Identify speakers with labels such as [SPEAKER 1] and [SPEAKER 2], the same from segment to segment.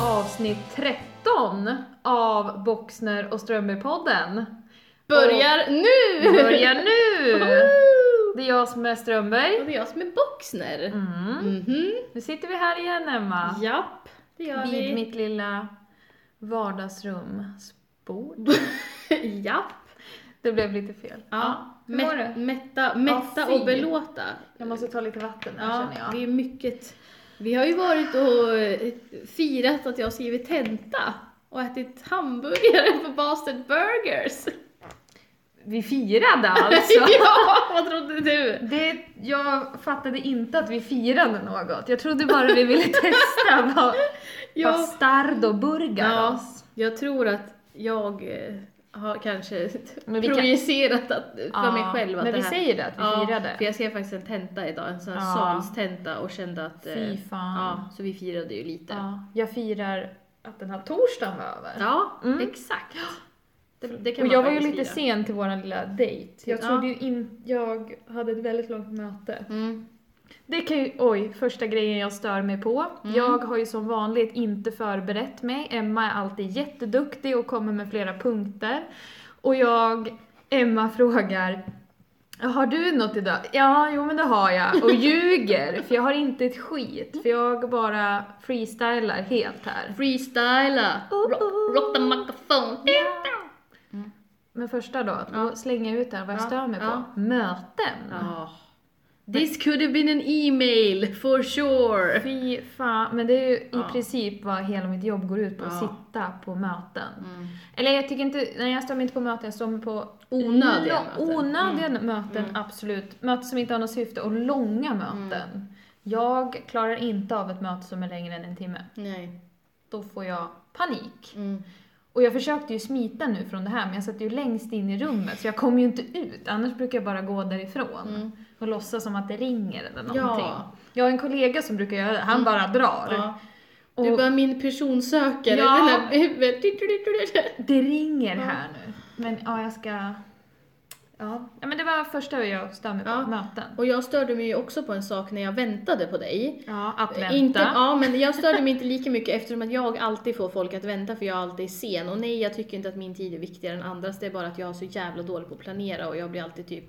[SPEAKER 1] avsnitt 13 av Boxner och Strömberg-podden.
[SPEAKER 2] Börjar nu!
[SPEAKER 1] Börjar nu!
[SPEAKER 2] Woo!
[SPEAKER 1] Det är jag som är Strömberg.
[SPEAKER 2] Och det är jag som är Boxner.
[SPEAKER 1] Mm.
[SPEAKER 2] Mhm.
[SPEAKER 1] Nu sitter vi här igen Emma.
[SPEAKER 2] Japp, det gör
[SPEAKER 1] Vid
[SPEAKER 2] vi.
[SPEAKER 1] mitt lilla vardagsrumsbord.
[SPEAKER 2] Japp.
[SPEAKER 1] Det blev lite fel.
[SPEAKER 2] Ja.
[SPEAKER 1] Hur mår
[SPEAKER 2] Mä-
[SPEAKER 1] du?
[SPEAKER 2] mätta mätta
[SPEAKER 1] Ja, fy.
[SPEAKER 2] och belåta.
[SPEAKER 1] Jag måste ta lite vatten här
[SPEAKER 2] Ja,
[SPEAKER 1] känner jag.
[SPEAKER 2] det är mycket. Vi har ju varit och eh, firat att jag har skrivit tenta och ätit hamburgare på Bastard Burgers.
[SPEAKER 1] Vi firade alltså.
[SPEAKER 2] ja, vad trodde du?
[SPEAKER 1] Det, jag fattade inte att vi firade något. Jag trodde bara vi ville testa vad
[SPEAKER 2] Ja.
[SPEAKER 1] bastardo burgaras.
[SPEAKER 2] Jag tror att jag eh, har kanske
[SPEAKER 1] Men vi kan-
[SPEAKER 2] projicerat att, för mig själv att
[SPEAKER 1] Men
[SPEAKER 2] det
[SPEAKER 1] vi
[SPEAKER 2] här...
[SPEAKER 1] säger det, att vi firade.
[SPEAKER 2] för jag skrev faktiskt en tenta idag, en sån här
[SPEAKER 1] Ja.
[SPEAKER 2] salstenta och kände att... eh,
[SPEAKER 1] Fy fan.
[SPEAKER 2] Ja, så vi firade ju lite. Ja,
[SPEAKER 1] Ja. Jag firar att den här torsdagen var över. Mm.
[SPEAKER 2] exakt. Det, det kan
[SPEAKER 1] Och
[SPEAKER 2] man
[SPEAKER 1] jag var ju
[SPEAKER 2] faktiskt
[SPEAKER 1] lite
[SPEAKER 2] fira.
[SPEAKER 1] sen till våran lilla dejt. Jag
[SPEAKER 2] Ja.
[SPEAKER 1] trodde ju in, jag hade ett väldigt långt möte.
[SPEAKER 2] Mm.
[SPEAKER 1] Det kan ju, oj, första grejen jag stör mig på.
[SPEAKER 2] Mm.
[SPEAKER 1] Jag har ju som vanligt inte förberett mig. Emma är alltid jätteduktig och kommer med flera punkter. Och jag, Emma frågar har du något idag? Ja, jo men det har jag. Och ljuger, för jag har inte ett skit. För jag bara freestylar helt här.
[SPEAKER 2] Freestyla!
[SPEAKER 1] Oh,
[SPEAKER 2] Rock, rock the microphone!
[SPEAKER 1] Men första då, då slänger jag ut där vad jag
[SPEAKER 2] Mm. Ja,
[SPEAKER 1] stör mig
[SPEAKER 2] ja.
[SPEAKER 1] på. Möten.
[SPEAKER 2] Ja. This could have been an email, for sure!
[SPEAKER 1] Fy fan, men det är ju i
[SPEAKER 2] Ja.
[SPEAKER 1] princip vad hela mitt jobb går ut på, att
[SPEAKER 2] Ja.
[SPEAKER 1] sitta på möten.
[SPEAKER 2] Mm.
[SPEAKER 1] Eller jag tycker inte, nej jag stör mig inte på möten, jag stör mig på
[SPEAKER 2] Onödiga
[SPEAKER 1] lång-
[SPEAKER 2] möten. Mm.
[SPEAKER 1] onödiga möten, absolut. Möten som inte har något syfte och långa möten. Jag klarar inte av ett möte som är längre än en timme.
[SPEAKER 2] Nej.
[SPEAKER 1] Då får jag panik.
[SPEAKER 2] Mm.
[SPEAKER 1] Och jag försökte ju smita nu från det här, men jag satt ju längst in i rummet så jag kom ju inte ut. Annars brukar jag bara gå därifrån
[SPEAKER 2] Mm.
[SPEAKER 1] och låtsas som att det ringer eller
[SPEAKER 2] Ja. Mm.
[SPEAKER 1] någonting. Jag har en kollega som brukar göra det, han bara drar.
[SPEAKER 2] Ja.
[SPEAKER 1] Och
[SPEAKER 2] Du bara min personsökare.
[SPEAKER 1] Ja.
[SPEAKER 2] Den här-
[SPEAKER 1] Det ringer här nu. Men ja, jag ska... Ja. ja, men det var första jag stör mig på,
[SPEAKER 2] Ja.
[SPEAKER 1] möten.
[SPEAKER 2] Och jag störde mig ju också på en sak när jag väntade på dig.
[SPEAKER 1] Ja, att vänta.
[SPEAKER 2] Eh, Inte, ja, men jag störde mig inte lika mycket eftersom att jag alltid får folk att vänta för jag alltid är sen. Och nej, jag tycker inte att min tid är viktigare än andras. Det är bara att jag är så jävla dålig på att planera och jag blir alltid typ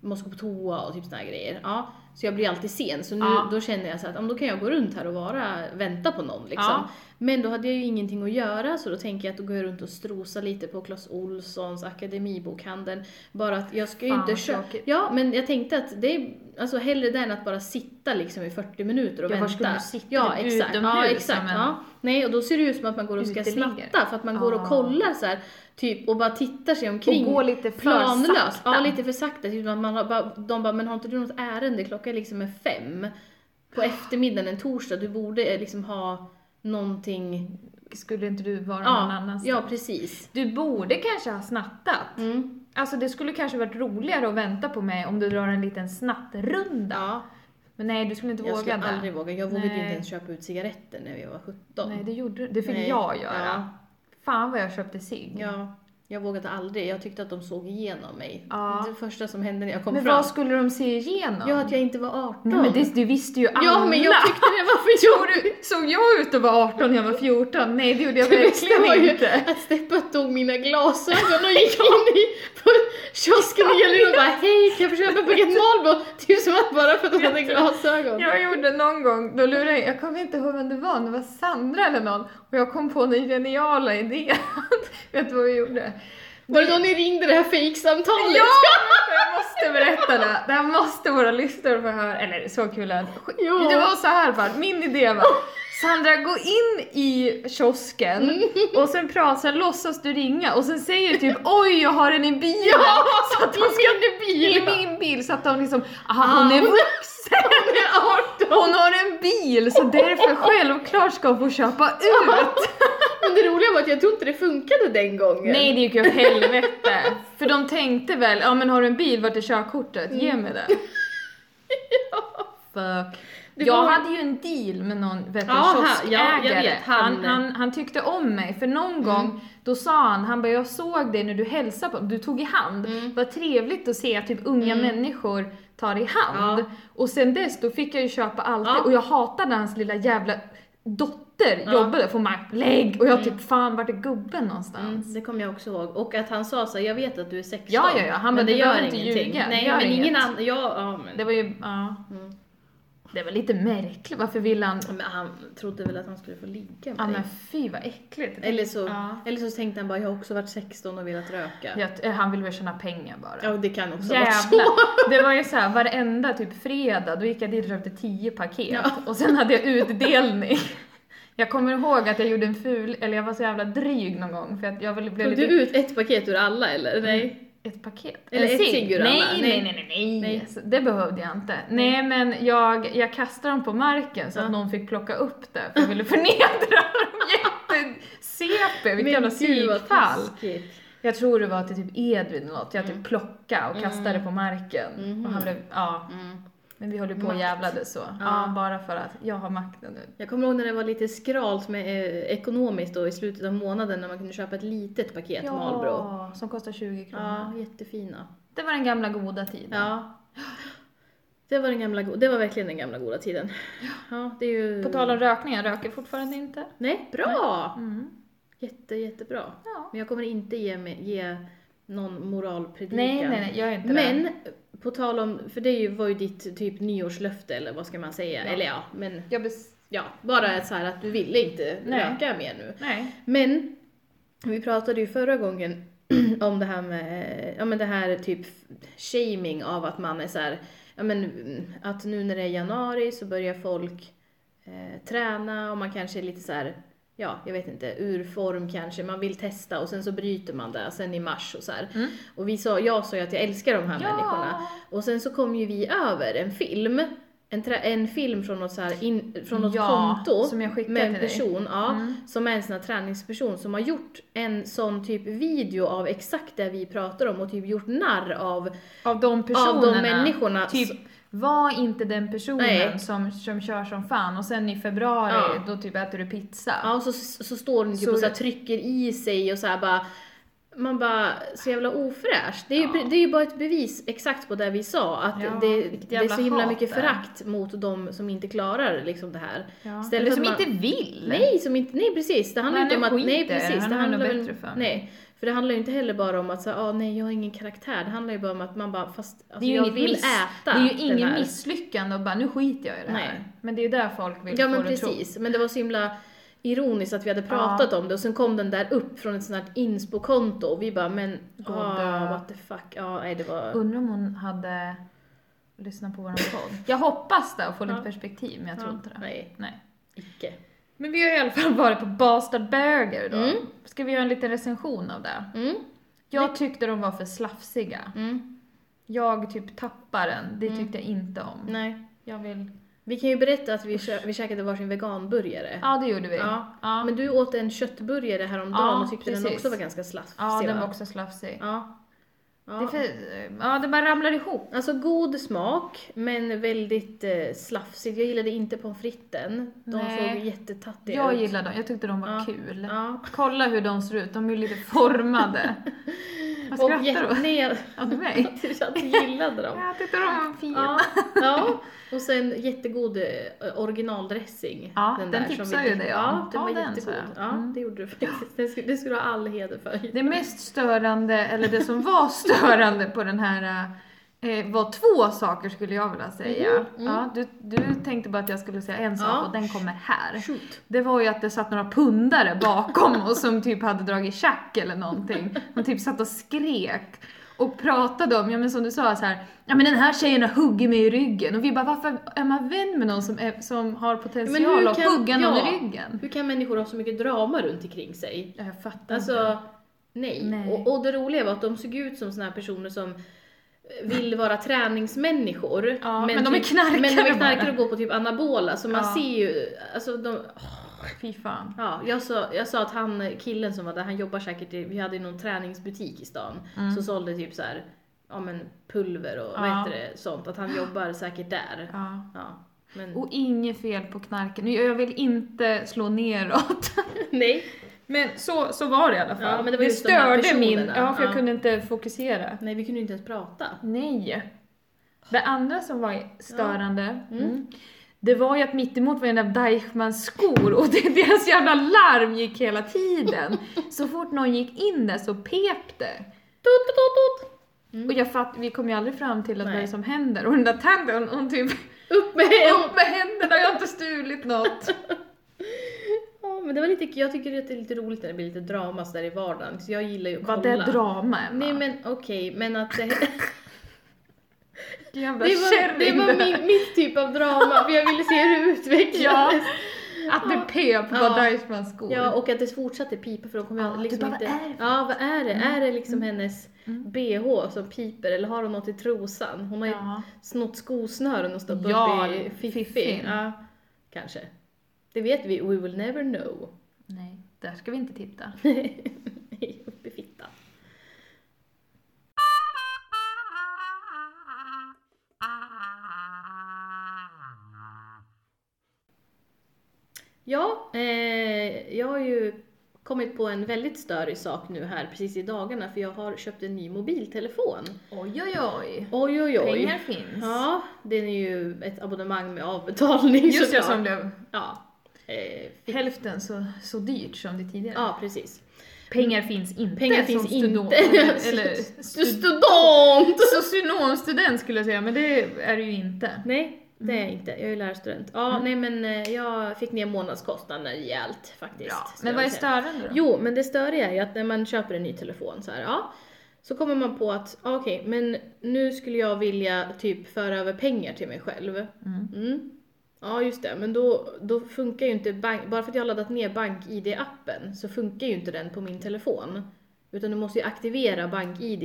[SPEAKER 2] måste gå på toa och typ såna här grejer. Ja, så jag blir alltid sen. Så nu,
[SPEAKER 1] Ja.
[SPEAKER 2] då känner jag så att om då kan jag gå runt här och vara, vänta på någon liksom.
[SPEAKER 1] Ja.
[SPEAKER 2] Men då hade jag ju ingenting att göra så då tänker jag att då går jag runt och strosar lite på Clas Olssons, Akademibokhandeln. Bara att jag ska ju
[SPEAKER 1] Fan,
[SPEAKER 2] inte
[SPEAKER 1] vad
[SPEAKER 2] köpa...
[SPEAKER 1] tråkigt.
[SPEAKER 2] Ja, men jag tänkte att det är alltså hellre det än att bara sitta liksom i 40 minuter och
[SPEAKER 1] Ja, var
[SPEAKER 2] vänta.
[SPEAKER 1] skulle du sitta?
[SPEAKER 2] ja,
[SPEAKER 1] Typ
[SPEAKER 2] exakt. Ja,
[SPEAKER 1] utomhus
[SPEAKER 2] exakt.
[SPEAKER 1] som en-
[SPEAKER 2] Ja. Nej, och då ser det ut som att man går och ska
[SPEAKER 1] Uteliggare.
[SPEAKER 2] snatta för att man går och
[SPEAKER 1] Ah.
[SPEAKER 2] kollar så här, typ och bara tittar sig omkring.
[SPEAKER 1] Och gå lite för
[SPEAKER 2] planlöst.
[SPEAKER 1] sakta.
[SPEAKER 2] Ja, lite för sakta. Typ att man har bara, de bara, men har inte du något ärende? Klockan är liksom är fem
[SPEAKER 1] Ah.
[SPEAKER 2] på eftermiddagen en torsdag. Du borde eh, liksom ha någonting.
[SPEAKER 1] Skulle inte du vara någon
[SPEAKER 2] Ja,
[SPEAKER 1] annanstans?
[SPEAKER 2] ja precis.
[SPEAKER 1] Du borde kanske ha snattat.
[SPEAKER 2] Mm.
[SPEAKER 1] Alltså det skulle kanske varit roligare att vänta på mig om du drar en liten snattrunda.
[SPEAKER 2] Ja,
[SPEAKER 1] Men nej, du skulle inte
[SPEAKER 2] jag
[SPEAKER 1] våga
[SPEAKER 2] skulle
[SPEAKER 1] det.
[SPEAKER 2] aldrig våga. Jag vågade ju
[SPEAKER 1] Nej.
[SPEAKER 2] inte ens köpa ut cigaretter när jag var 17.
[SPEAKER 1] Nej, det gjorde du. Det fick
[SPEAKER 2] Nej.
[SPEAKER 1] jag göra.
[SPEAKER 2] Ja.
[SPEAKER 1] Fan vad jag köpte cigg.
[SPEAKER 2] Ja, jag vågade aldrig. Jag tyckte att de såg igenom mig.
[SPEAKER 1] Ja.
[SPEAKER 2] Det första som hände när jag kom
[SPEAKER 1] Men
[SPEAKER 2] fram.
[SPEAKER 1] vad skulle de se igenom?
[SPEAKER 2] Ja, att jag inte var 18.
[SPEAKER 1] Nej, men det, det visste ju alla.
[SPEAKER 2] ja, men jag tyckte det var för
[SPEAKER 1] Tror
[SPEAKER 2] jobbigt.
[SPEAKER 1] du, såg jag ut att vara 18 när jag var 14? Nej, det gjorde jag verkligen
[SPEAKER 2] ju
[SPEAKER 1] inte.
[SPEAKER 2] att Steppa tog mina glasögon och gick in i på kiosken i Gällivare och bara hej kan jag få köpa en paket Marlboro? Typ som att bara för att hon hade glasögon.
[SPEAKER 1] Jag gjorde någon gång, då lurade jag, jag kommer inte ihåg vem det var, om det var Sandra eller någon, och jag kom på den geniala idén. Vet du vad vi gjorde?
[SPEAKER 2] Var det då ni ringde det här fejksamtalet?
[SPEAKER 1] Ja! Jag måste berätta det, det här måste våra lyssnare få höra, eller så kul är det. Sk-
[SPEAKER 2] Ja.
[SPEAKER 1] Det var så här bara, min idé var, Sandra gå in i kiosken och sen prata, sen låtsas du ringa och sen säger du typ oj jag har den i bilen. så att de ska
[SPEAKER 2] I min bil!
[SPEAKER 1] i min bil så att de liksom, aha, hon är
[SPEAKER 2] hon är-
[SPEAKER 1] vuxen!
[SPEAKER 2] Hon är 18!
[SPEAKER 1] Hon har en bil så därför självklart ska hon få köpa ut!
[SPEAKER 2] Men det roliga var att jag tror inte det funkade den gången.
[SPEAKER 1] Nej det gick ju åt helvete! För de tänkte väl, ja men har du en bil, vart är körkortet? Ge mig det! Fuck.
[SPEAKER 2] Det
[SPEAKER 1] jag
[SPEAKER 2] var-
[SPEAKER 1] hade ju en deal med någon vet du,
[SPEAKER 2] Ja, han-
[SPEAKER 1] kioskägare.
[SPEAKER 2] ja, jag vet, han- Mm.
[SPEAKER 1] han, han, han tyckte om mig, för någon gång då sa han, han bara jag såg dig när du hälsade på mig, du tog i hand.
[SPEAKER 2] Mm.
[SPEAKER 1] Vad trevligt att se att typ unga människor tar i hand.
[SPEAKER 2] Ja.
[SPEAKER 1] Och sen dess då fick jag ju köpa allt
[SPEAKER 2] Ja.
[SPEAKER 1] och jag hatade hans lilla jävla dotter efter
[SPEAKER 2] Ja.
[SPEAKER 1] jobbade får man lägg och jag
[SPEAKER 2] Mm.
[SPEAKER 1] typ fan vart är gubben någonstans?
[SPEAKER 2] Mm, det kommer jag också ihåg. Och att han sa så här, jag vet att du är 16.
[SPEAKER 1] Ja, ja, ja. Han bara,
[SPEAKER 2] men det
[SPEAKER 1] "Du
[SPEAKER 2] gör
[SPEAKER 1] behöver inte
[SPEAKER 2] ingenting.
[SPEAKER 1] ljuga.
[SPEAKER 2] Nej,
[SPEAKER 1] Gör
[SPEAKER 2] men ingen
[SPEAKER 1] inget."
[SPEAKER 2] annan. Ja, ja, men.
[SPEAKER 1] Det var ju, ja.
[SPEAKER 2] Mm.
[SPEAKER 1] Det var lite märkligt, varför ville han?
[SPEAKER 2] men han trodde väl att han skulle få ligga
[SPEAKER 1] Ja
[SPEAKER 2] med dig.
[SPEAKER 1] men fy vad äckligt.
[SPEAKER 2] Eller så,
[SPEAKER 1] Ja.
[SPEAKER 2] eller så tänkte han bara, jag har också varit 16 och velat röka. Ja,
[SPEAKER 1] Jag, eh, han ville väl tjäna pengar bara.
[SPEAKER 2] det kan också vara så.
[SPEAKER 1] Jävlar. Det var ju såhär varenda typ fredag, då gick jag dit och köpte 10 paket
[SPEAKER 2] Ja.
[SPEAKER 1] och sen hade jag utdelning. Jag kommer ihåg att jag gjorde en ful, eller jag var så jävla dryg någon gång för att jag väl- blev
[SPEAKER 2] Tog
[SPEAKER 1] lite...
[SPEAKER 2] du ut ett paket ur alla
[SPEAKER 1] Mm.
[SPEAKER 2] eller? Nej.
[SPEAKER 1] Ett paket?
[SPEAKER 2] Eller
[SPEAKER 1] En
[SPEAKER 2] ett cigg ur alla.
[SPEAKER 1] nej, nej,
[SPEAKER 2] Nej.
[SPEAKER 1] nej, nej, nej,
[SPEAKER 2] Nej.
[SPEAKER 1] Så Det behövde jag inte. Nej men jag, jag kastade dem på marken så att
[SPEAKER 2] Ja.
[SPEAKER 1] någon fick plocka upp det för jag ville förnedra dem jätte-CP, vilket jävla psykfall.
[SPEAKER 2] taskigt.
[SPEAKER 1] Jag tror det var till typ Edvin eller något, jag
[SPEAKER 2] Mm.
[SPEAKER 1] typ plockade och kastade på marken.
[SPEAKER 2] Mhm.
[SPEAKER 1] Och han blev, ja.
[SPEAKER 2] Mm.
[SPEAKER 1] Men vi höll ju på och
[SPEAKER 2] Makt.
[SPEAKER 1] jävlade så.
[SPEAKER 2] Ja.
[SPEAKER 1] Ja. bara för att jag har makten nu.
[SPEAKER 2] Jag kommer ihåg när det var lite skralt med, eh, ekonomiskt då, i slutet av månaden när man kunde köpa ett litet paket Marlboro.
[SPEAKER 1] som kostar 20 kronor.
[SPEAKER 2] Ja, jättefina.
[SPEAKER 1] Det var den gamla goda tiden.
[SPEAKER 2] Ja. Det var, den gamla, go- det var verkligen den gamla goda tiden. Ja, det är ju...
[SPEAKER 1] På tal om rökning, jag röker fortfarande inte.
[SPEAKER 2] Nej, bra!
[SPEAKER 1] Mm.
[SPEAKER 2] Jätte, jättebra.
[SPEAKER 1] Ja.
[SPEAKER 2] Men jag kommer inte ge, mig, ge någon moralpredikan.
[SPEAKER 1] Nej, nej, nej, jag är inte det.
[SPEAKER 2] Men, på tal om, för det är ju- var ju ditt typ nyårslöfte eller vad ska man säga?
[SPEAKER 1] Ja.
[SPEAKER 2] Eller ja, men
[SPEAKER 1] Jag bes-
[SPEAKER 2] ja, bara ett så här att du ville inte
[SPEAKER 1] Nej.
[SPEAKER 2] röka mer nu.
[SPEAKER 1] Nej.
[SPEAKER 2] Men, vi pratade ju förra gången om det här med, ja men det här typ shaming av att man är så här, ja men mm, att nu när det är januari så börjar folk eh, träna och man kanske är lite så här, ja jag vet inte, ur form kanske, man vill testa och sen så bryter man det sen i mars och så här.
[SPEAKER 1] Mm.
[SPEAKER 2] Och vi sa, jag sa ju att jag älskar de här människorna. Och sen så kom ju vi över en film, en, trä, en film från något, så här in, från något
[SPEAKER 1] Ja,
[SPEAKER 2] konto
[SPEAKER 1] som jag skickade
[SPEAKER 2] med en
[SPEAKER 1] till dig.
[SPEAKER 2] person, ja,
[SPEAKER 1] Mm.
[SPEAKER 2] som är en sån här träningsperson som har gjort en sån typ video av exakt det vi pratar om och typ gjort narr av,
[SPEAKER 1] Av de personerna.
[SPEAKER 2] av de människorna.
[SPEAKER 1] Typ,
[SPEAKER 2] Så-
[SPEAKER 1] var inte den personen
[SPEAKER 2] Nej.
[SPEAKER 1] som, som kör som fan och sen i februari
[SPEAKER 2] Ja.
[SPEAKER 1] då typ äter du pizza.
[SPEAKER 2] Ja, och så, så, så står den typ
[SPEAKER 1] Så-
[SPEAKER 2] och så här trycker i sig och så här bara man bara, så jävla ofräscht. Det är, ju,
[SPEAKER 1] Ja.
[SPEAKER 2] det är ju bara ett bevis exakt på det vi sa, att
[SPEAKER 1] Ja,
[SPEAKER 2] det,
[SPEAKER 1] vilket
[SPEAKER 2] det är
[SPEAKER 1] jävla
[SPEAKER 2] så himla
[SPEAKER 1] hat
[SPEAKER 2] mycket
[SPEAKER 1] det är.
[SPEAKER 2] förakt mot de som inte klarar liksom det här.
[SPEAKER 1] Ja.
[SPEAKER 2] Istället
[SPEAKER 1] Eller
[SPEAKER 2] för
[SPEAKER 1] som
[SPEAKER 2] att man-
[SPEAKER 1] inte vill.
[SPEAKER 2] Nej, som inte, nej precis. Det handlar
[SPEAKER 1] Nej,
[SPEAKER 2] inte om
[SPEAKER 1] nu
[SPEAKER 2] att, nej
[SPEAKER 1] skiter jag i det.
[SPEAKER 2] precis.
[SPEAKER 1] Han
[SPEAKER 2] Det
[SPEAKER 1] har
[SPEAKER 2] handlar
[SPEAKER 1] nog
[SPEAKER 2] väl-
[SPEAKER 1] bättre för mig.
[SPEAKER 2] Nej, för det handlar ju inte heller bara om att säga, ah, nej jag har ingen karaktär. Det handlar ju bara om att man bara, fast alltså,
[SPEAKER 1] Det är ju
[SPEAKER 2] jag
[SPEAKER 1] inget
[SPEAKER 2] vill
[SPEAKER 1] miss-
[SPEAKER 2] äta
[SPEAKER 1] Det är ju
[SPEAKER 2] den
[SPEAKER 1] ingen
[SPEAKER 2] här.
[SPEAKER 1] misslyckande och bara nu skiter jag i det här.
[SPEAKER 2] Nej.
[SPEAKER 1] Men det är ju där folk vill
[SPEAKER 2] Ja
[SPEAKER 1] få
[SPEAKER 2] men
[SPEAKER 1] det att tro.
[SPEAKER 2] precis, men det var så himla ironiskt att vi hade pratat om det och sen kom den där upp från ett sånt här inspo-konto och vi bara men
[SPEAKER 1] Åh,
[SPEAKER 2] ah,
[SPEAKER 1] dö.
[SPEAKER 2] what the fuck, ja nej det var...
[SPEAKER 1] Undrar om hon hade lyssnat på våran podd. Jag hoppas det och får lite
[SPEAKER 2] Ja.
[SPEAKER 1] perspektiv men jag tror
[SPEAKER 2] Ja,
[SPEAKER 1] inte det.
[SPEAKER 2] Nej,
[SPEAKER 1] Nej.
[SPEAKER 2] icke.
[SPEAKER 1] Men vi har i alla fall varit på Bastard Burger då.
[SPEAKER 2] Mm.
[SPEAKER 1] Ska vi göra en liten recension av det?
[SPEAKER 2] Mm,
[SPEAKER 1] Jag tyckte de var för slafsiga.
[SPEAKER 2] mm,
[SPEAKER 1] Jag typ tappar den. Det tyckte jag inte om.
[SPEAKER 2] nej.
[SPEAKER 1] Jag vill...
[SPEAKER 2] Vi kan ju berätta att vi, kö- vi käkade varsin veganburgare.
[SPEAKER 1] Ja, det gjorde vi.
[SPEAKER 2] Ja.
[SPEAKER 1] ja.
[SPEAKER 2] Men du åt en köttburgare häromdagen
[SPEAKER 1] Ja,
[SPEAKER 2] och tyckte den
[SPEAKER 1] precis.
[SPEAKER 2] också var ganska slafsig
[SPEAKER 1] ja den
[SPEAKER 2] va?
[SPEAKER 1] var också slafsig.
[SPEAKER 2] Ja. Ja.
[SPEAKER 1] Det, är för... ja, det bara ramlar ihop.
[SPEAKER 2] Alltså god smak, men väldigt eh, slafsigt. Jag gillade inte pommes fritesen. De
[SPEAKER 1] Nej.
[SPEAKER 2] såg jättetattiga
[SPEAKER 1] Jag
[SPEAKER 2] ut.
[SPEAKER 1] gillar dem, jag tyckte de var
[SPEAKER 2] Ja.
[SPEAKER 1] kul.
[SPEAKER 2] Ja.
[SPEAKER 1] Kolla hur de ser ut, de är ju lite formade. Vad
[SPEAKER 2] Och
[SPEAKER 1] skrattar du åt?
[SPEAKER 2] jätte...
[SPEAKER 1] Ja, du mig?
[SPEAKER 2] att jag gillade dem.
[SPEAKER 1] Jag tyckte de var fina.
[SPEAKER 2] Ja, ja, och sen jättegod eh, originaldressing.
[SPEAKER 1] Ja, den tipsade ju
[SPEAKER 2] det
[SPEAKER 1] dig om.
[SPEAKER 2] Ja, den
[SPEAKER 1] Ta
[SPEAKER 2] var
[SPEAKER 1] den, sa
[SPEAKER 2] jättegod.
[SPEAKER 1] jag.
[SPEAKER 2] Ja,
[SPEAKER 1] Mm.
[SPEAKER 2] det gjorde du faktiskt. Det skulle, det skulle du ha all heder för.
[SPEAKER 1] Det mest störande, eller det som var störande på den här eh, var två saker skulle jag vilja säga.
[SPEAKER 2] Mhm, mm.
[SPEAKER 1] Ja, du, du tänkte bara att jag skulle säga en sak
[SPEAKER 2] Ja.
[SPEAKER 1] och den kommer här.
[SPEAKER 2] Shoot.
[SPEAKER 1] Det var ju att det satt några pundare bakom och som typ hade dragit tjack eller någonting. De typ satt och skrek och pratade om, ja men som du sa så här, ja men den här tjejen har huggit mig i ryggen och vi bara varför är man vän med någon som, är, som har
[SPEAKER 2] Men
[SPEAKER 1] potential
[SPEAKER 2] hur
[SPEAKER 1] att
[SPEAKER 2] kan-
[SPEAKER 1] hugga någon
[SPEAKER 2] ja.
[SPEAKER 1] i ryggen?
[SPEAKER 2] Hur kan människor ha så mycket drama runt omkring sig?
[SPEAKER 1] Ja, Jag fattar inte.
[SPEAKER 2] Alltså, nej.
[SPEAKER 1] Nej.
[SPEAKER 2] Och, och det roliga var att de såg ut som såna här personer som eh, vill vara träningsmänniskor.
[SPEAKER 1] Ja, men de är knarkare
[SPEAKER 2] Men de är knarkare
[SPEAKER 1] bara.
[SPEAKER 2] och går på typ anabola, så man
[SPEAKER 1] Ja.
[SPEAKER 2] ser ju, alltså de, åh,
[SPEAKER 1] Fy fan.
[SPEAKER 2] ja, jag, sa, jag sa att han, killen som var där, han jobbar säkert i, vi hade ju någon träningsbutik i stan, så sålde typ så här, ja men pulver och vad
[SPEAKER 1] Mm. Ja.
[SPEAKER 2] heter det, sånt, att han jobbar säkert där.
[SPEAKER 1] Ja. Oh.
[SPEAKER 2] Ja, men
[SPEAKER 1] Och inget fel på knarken. Nu, Jag vill inte slå neråt.
[SPEAKER 2] nej.
[SPEAKER 1] Men så, så var det i alla fall.
[SPEAKER 2] Ja, men det var just de här
[SPEAKER 1] störde min...
[SPEAKER 2] personerna.
[SPEAKER 1] Ja, för jag
[SPEAKER 2] Ja.
[SPEAKER 1] kunde inte fokusera.
[SPEAKER 2] nej, vi kunde ju inte ens prata.
[SPEAKER 1] Nej. Det andra som var störande,
[SPEAKER 2] Mm.
[SPEAKER 1] mm. det var ju att mittemot var ju den där Deichmans skor och det, deras jävla larm gick hela tiden. Så fort någon gick in där så pep det.
[SPEAKER 2] Tut, tut, tut, tut.
[SPEAKER 1] Och jag fatt, vi kom ju aldrig fram till att vad
[SPEAKER 2] Mm. Nej.
[SPEAKER 1] det är som händer. Och den där tanten, hon, hon typ
[SPEAKER 2] Upp med
[SPEAKER 1] upp med händerna, jag har inte stulit något.
[SPEAKER 2] Ja, men det var lite, jag tycker att det är lite roligt när det blir lite drama så där i vardagen. Så jag gillar ju att kolla.
[SPEAKER 1] Vad det är drama Emma.
[SPEAKER 2] Nej men okej, men att det,
[SPEAKER 1] Vilken jävla
[SPEAKER 2] det var, det
[SPEAKER 1] kärring
[SPEAKER 2] var
[SPEAKER 1] där.
[SPEAKER 2] min, mitt typ av drama för jag ville se hur det utvecklades.
[SPEAKER 1] Ja. Att det pep på
[SPEAKER 2] Ja.
[SPEAKER 1] Deichmans skor.
[SPEAKER 2] Ja, och att det fortsatte pipa för de kommer
[SPEAKER 1] Ja,
[SPEAKER 2] jag liksom
[SPEAKER 1] Ah, du bara,
[SPEAKER 2] inte...
[SPEAKER 1] "Vad är det för
[SPEAKER 2] Ja, vad är det? Är det liksom hennes
[SPEAKER 1] Mm.
[SPEAKER 2] bh som piper eller har hon något i trosan? Hon har ju
[SPEAKER 1] Ja.
[SPEAKER 2] snott skosnören och stoppat
[SPEAKER 1] Ja,
[SPEAKER 2] upp i fiffin.
[SPEAKER 1] fiffin.
[SPEAKER 2] Ja, kanske. Det vet vi, we will never know.
[SPEAKER 1] Nej, där ska vi inte titta.
[SPEAKER 2] Nej, upp i fittan. Ja, eh, jag har ju kommit på en väldigt störig sak nu här precis i dagarna för jag har köpt en ny mobiltelefon.
[SPEAKER 1] Oj, oj, oj.
[SPEAKER 2] Oj oj oj.
[SPEAKER 1] Pengar finns.
[SPEAKER 2] Ja, den är ju ett abonnemang med avbetalning
[SPEAKER 1] Just det,
[SPEAKER 2] såklart.
[SPEAKER 1] som blev
[SPEAKER 2] Ja. Eh, fick-
[SPEAKER 1] hälften så, så dyrt som det tidigare.
[SPEAKER 2] ja, precis.
[SPEAKER 1] Pengar finns inte.
[SPEAKER 2] Pengar
[SPEAKER 1] som
[SPEAKER 2] finns
[SPEAKER 1] student-
[SPEAKER 2] inte.
[SPEAKER 1] Eller
[SPEAKER 2] Du
[SPEAKER 1] stud-
[SPEAKER 2] student!
[SPEAKER 1] socionomstudent skulle jag säga, men det är det ju inte.
[SPEAKER 2] Nej, det är jag
[SPEAKER 1] Mm.
[SPEAKER 2] inte. Jag är ju lärarstudent. Ja, nej men eh, jag fick ner månadskostnaden rejält faktiskt.
[SPEAKER 1] Bra. Men
[SPEAKER 2] skulle jag
[SPEAKER 1] vad är
[SPEAKER 2] säga.
[SPEAKER 1] störande då?
[SPEAKER 2] Jo, men det störiga är ju att när man köper en ny telefon så här, ja, så kommer man på att ja, okej, men nu skulle jag vilja typ föra över pengar till mig själv.
[SPEAKER 1] Mm.
[SPEAKER 2] Mm. Ja, just det, men då, då funkar ju inte bank, bara för att jag har laddat ner BankID-appen så funkar ju inte den på min telefon. Utan du måste ju aktivera BankID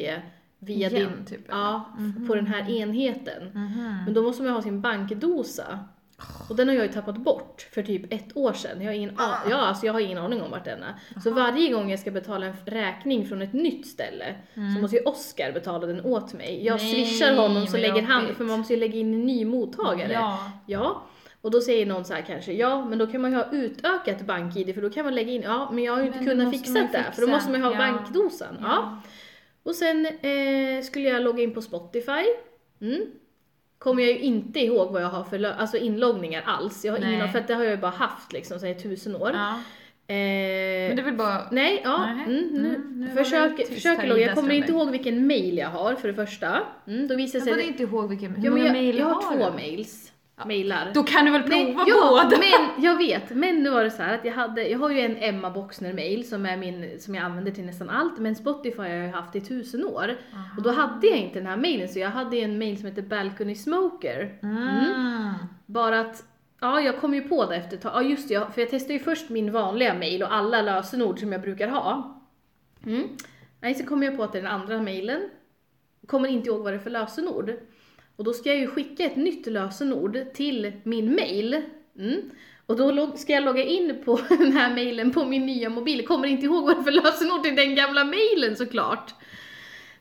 [SPEAKER 2] via
[SPEAKER 1] Igen,
[SPEAKER 2] din,
[SPEAKER 1] typ, eller? Mm.
[SPEAKER 2] ja, f- på den här enheten.
[SPEAKER 1] Mhm.
[SPEAKER 2] Men då måste man ju ha sin bankdosa. Och den har jag ju tappat bort för typ ett år sedan. Jag har ingen, a-
[SPEAKER 1] Ah.
[SPEAKER 2] ja, alltså jag har ingen aning om vart den är. Så varje gång jag ska betala en f- räkning från ett nytt ställe så måste ju Oscar betala den åt mig. Jag
[SPEAKER 1] Mm. Nej,
[SPEAKER 2] swishar honom så
[SPEAKER 1] vad
[SPEAKER 2] lägger han,
[SPEAKER 1] jobbigt.
[SPEAKER 2] för man måste ju lägga in en ny mottagare.
[SPEAKER 1] Ja.
[SPEAKER 2] Ja, och då säger någon så här kanske, ja men då kan man ju ha utökat bank-id för då kan man lägga in, ja men jag har ju inte
[SPEAKER 1] Men det
[SPEAKER 2] kunnat
[SPEAKER 1] måste
[SPEAKER 2] fixa
[SPEAKER 1] man
[SPEAKER 2] det
[SPEAKER 1] ju
[SPEAKER 2] för då
[SPEAKER 1] fixa.
[SPEAKER 2] måste man ju ha
[SPEAKER 1] Ja.
[SPEAKER 2] bankdosan. Ja. Och sen eh, skulle jag logga in på Spotify. Mm. Kommer jag ju inte ihåg vad jag har för lö- alltså inloggningar alls. Jag har ingen
[SPEAKER 1] Nej.
[SPEAKER 2] för att det har jag ju bara haft liksom sedan tusen år.
[SPEAKER 1] ja.
[SPEAKER 2] Eh,
[SPEAKER 1] Men det är väl bara...
[SPEAKER 2] Nej, ja.
[SPEAKER 1] Nähä.
[SPEAKER 2] Mm, nu,
[SPEAKER 1] Mm, nu var det
[SPEAKER 2] försök,
[SPEAKER 1] tyst
[SPEAKER 2] försök
[SPEAKER 1] här,
[SPEAKER 2] logga. Jag
[SPEAKER 1] Ida
[SPEAKER 2] kommer inte
[SPEAKER 1] Strömberg.
[SPEAKER 2] ihåg vilken mail jag har för det första. Mm, då visar
[SPEAKER 1] Jag
[SPEAKER 2] sig
[SPEAKER 1] kommer
[SPEAKER 2] det...
[SPEAKER 1] inte ihåg vilken... Hur
[SPEAKER 2] Ja, men
[SPEAKER 1] många
[SPEAKER 2] jag,
[SPEAKER 1] mejl
[SPEAKER 2] jag har
[SPEAKER 1] har
[SPEAKER 2] två
[SPEAKER 1] du?
[SPEAKER 2] mails. Mailar.
[SPEAKER 1] Då kan du väl
[SPEAKER 2] Nej,
[SPEAKER 1] prova
[SPEAKER 2] ja,
[SPEAKER 1] båda?
[SPEAKER 2] men jag vet. Men nu var det så här att jag hade, jag har ju en Emma Boxner-mail som är min, som jag använder till nästan allt, men Spotify har jag ju haft i tusen år. Och då hade jag inte den här mailen, så jag hade ju en mail som heter Balcony Smoker.
[SPEAKER 1] Mm.
[SPEAKER 2] Bara att, ja jag kom ju på det efter ett tag, ja just det, jag- för jag testade ju först min vanliga mail och alla lösenord som jag brukar ha. Mm. Nej, så kom jag på att det är den andra mailen, kommer inte ihåg vad det är för lösenord. Och då ska jag ju skicka ett nytt lösenord till min mail. Mm. Och då log- ska jag logga in på den här mailen på min nya mobil, kommer inte ihåg vad det är för lösenord till den gamla mailen såklart.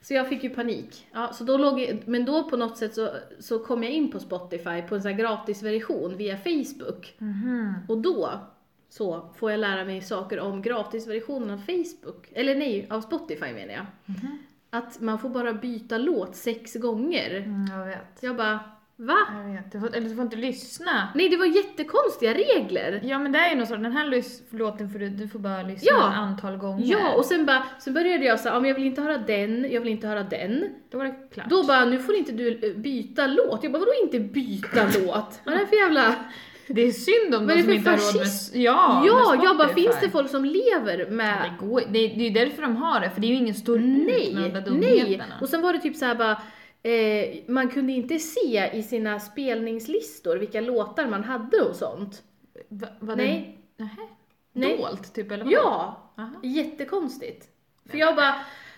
[SPEAKER 2] Så jag fick ju panik. Ja, så då låg, men då på något sätt så, så kom jag in på Spotify på en sån här gratisversion via Facebook.
[SPEAKER 1] Mhm.
[SPEAKER 2] Och då så får jag lära mig saker om gratisversionen av Facebook. Eller nej, av Spotify menar jag.
[SPEAKER 1] Mhm.
[SPEAKER 2] Att man får bara byta låt sex gånger.
[SPEAKER 1] Mm, jag vet.
[SPEAKER 2] Jag bara, va?
[SPEAKER 1] Jag vet. Du får, eller du får inte lyssna.
[SPEAKER 2] Nej, det var jättekonstiga regler.
[SPEAKER 1] Ja men det är ju något sånt, den här lys- låten får du, du får bara lyssna
[SPEAKER 2] Ja.
[SPEAKER 1] ett antal gånger.
[SPEAKER 2] Ja, och sen, bara, sen började jag säga, ja, men jag vill inte höra den, jag vill inte höra den.
[SPEAKER 1] Då var det klart.
[SPEAKER 2] Då bara, nu får inte du eh, byta låt. Jag bara, vadå inte byta låt? Vad är det för jävla...
[SPEAKER 1] Det är synd om
[SPEAKER 2] Vad
[SPEAKER 1] de
[SPEAKER 2] är det
[SPEAKER 1] som
[SPEAKER 2] för
[SPEAKER 1] inte har råd med...
[SPEAKER 2] fascist?
[SPEAKER 1] Ja,
[SPEAKER 2] Ja,
[SPEAKER 1] med
[SPEAKER 2] jag bara,
[SPEAKER 1] Spotify.
[SPEAKER 2] finns det folk som lever med...
[SPEAKER 1] Det, går, det, är- det är ju därför de har det, för det är ju ingen stor ut med de
[SPEAKER 2] Nej,
[SPEAKER 1] där
[SPEAKER 2] nej!
[SPEAKER 1] dumheterna.
[SPEAKER 2] Och sen var det typ såhär bara, eh, man kunde inte se i sina spelningslistor vilka låtar man hade och sånt.
[SPEAKER 1] Va, var
[SPEAKER 2] Nej.
[SPEAKER 1] Det, Nähä.
[SPEAKER 2] Nej.
[SPEAKER 1] Dolt typ eller? vadå?
[SPEAKER 2] Ja!
[SPEAKER 1] Aha.
[SPEAKER 2] Jättekonstigt. För jag bara,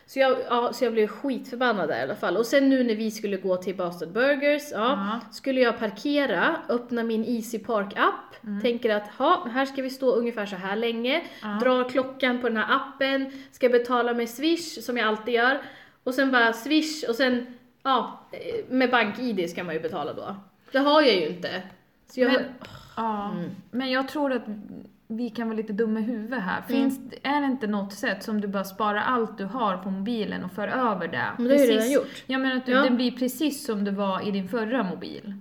[SPEAKER 2] så jag, ja, så jag blev skitförbannad där i alla fall. Och sen nu när vi skulle gå till Bastard Burgers, ja,
[SPEAKER 1] Ja.
[SPEAKER 2] skulle jag parkera, öppna min Easy Park app, tänker att ha, här ska vi stå ungefär så här länge,
[SPEAKER 1] Mm. Ja.
[SPEAKER 2] drar klockan på den här appen, ska betala med Swish som jag alltid gör, och sen bara Swish och sen, ja, eh, med BankID ska man ju betala då. Det har jag ju inte. Så jag,
[SPEAKER 1] Men, Mm. ja. men jag tror att vi kan vara lite dumma i huvudet här. Finns, Är det inte något sätt som du bara sparar allt du har på mobilen och för över det?
[SPEAKER 2] Men det har jag ju redan gjort.
[SPEAKER 1] Jag menar att du,
[SPEAKER 2] Ja.
[SPEAKER 1] det blir precis som det var i din förra mobil.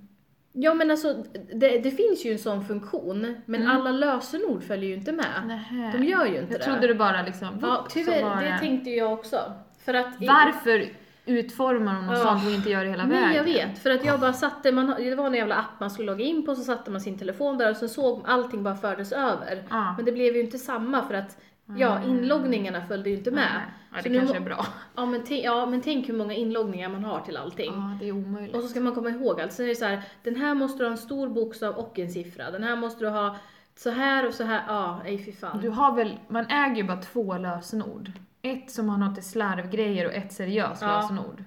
[SPEAKER 2] Ja men alltså, det, det finns ju en sån funktion, men
[SPEAKER 1] Mm.
[SPEAKER 2] alla lösenord följer ju inte med.
[SPEAKER 1] Nähä.
[SPEAKER 2] De gör ju inte
[SPEAKER 1] Jag
[SPEAKER 2] det.
[SPEAKER 1] trodde du bara liksom...
[SPEAKER 2] ja,
[SPEAKER 1] whoop, så var
[SPEAKER 2] tyvärr, det tänkte jag också. För att
[SPEAKER 1] Varför utformar de något
[SPEAKER 2] Ja.
[SPEAKER 1] sånt och inte gör det hela
[SPEAKER 2] Nej, jag
[SPEAKER 1] vägen?
[SPEAKER 2] vet. För att jag bara satte, man, har- det var en jävla app man skulle logga in på, så satte man sin telefon där och sen såg allting bara fördes över.
[SPEAKER 1] Ja. Mm.
[SPEAKER 2] Men det blev ju inte samma för att, ja, inloggningarna följde ju inte med.
[SPEAKER 1] Ja,
[SPEAKER 2] Så
[SPEAKER 1] det
[SPEAKER 2] nu
[SPEAKER 1] kanske
[SPEAKER 2] må-
[SPEAKER 1] är bra.
[SPEAKER 2] Ja men, te- ja, men tänk hur många inloggningar man har till allting.
[SPEAKER 1] Ja, det är omöjligt.
[SPEAKER 2] Och så ska man komma ihåg allt. Sen är det så här, den här måste du ha en stor bokstav och en siffra. Den här måste du ha så här och så här. Ja, ej fy fan.
[SPEAKER 1] Du har väl, man äger ju bara två lösenord. Ett som man har till slarvgrejer och ett seriöst
[SPEAKER 2] Ja.
[SPEAKER 1] lösenord.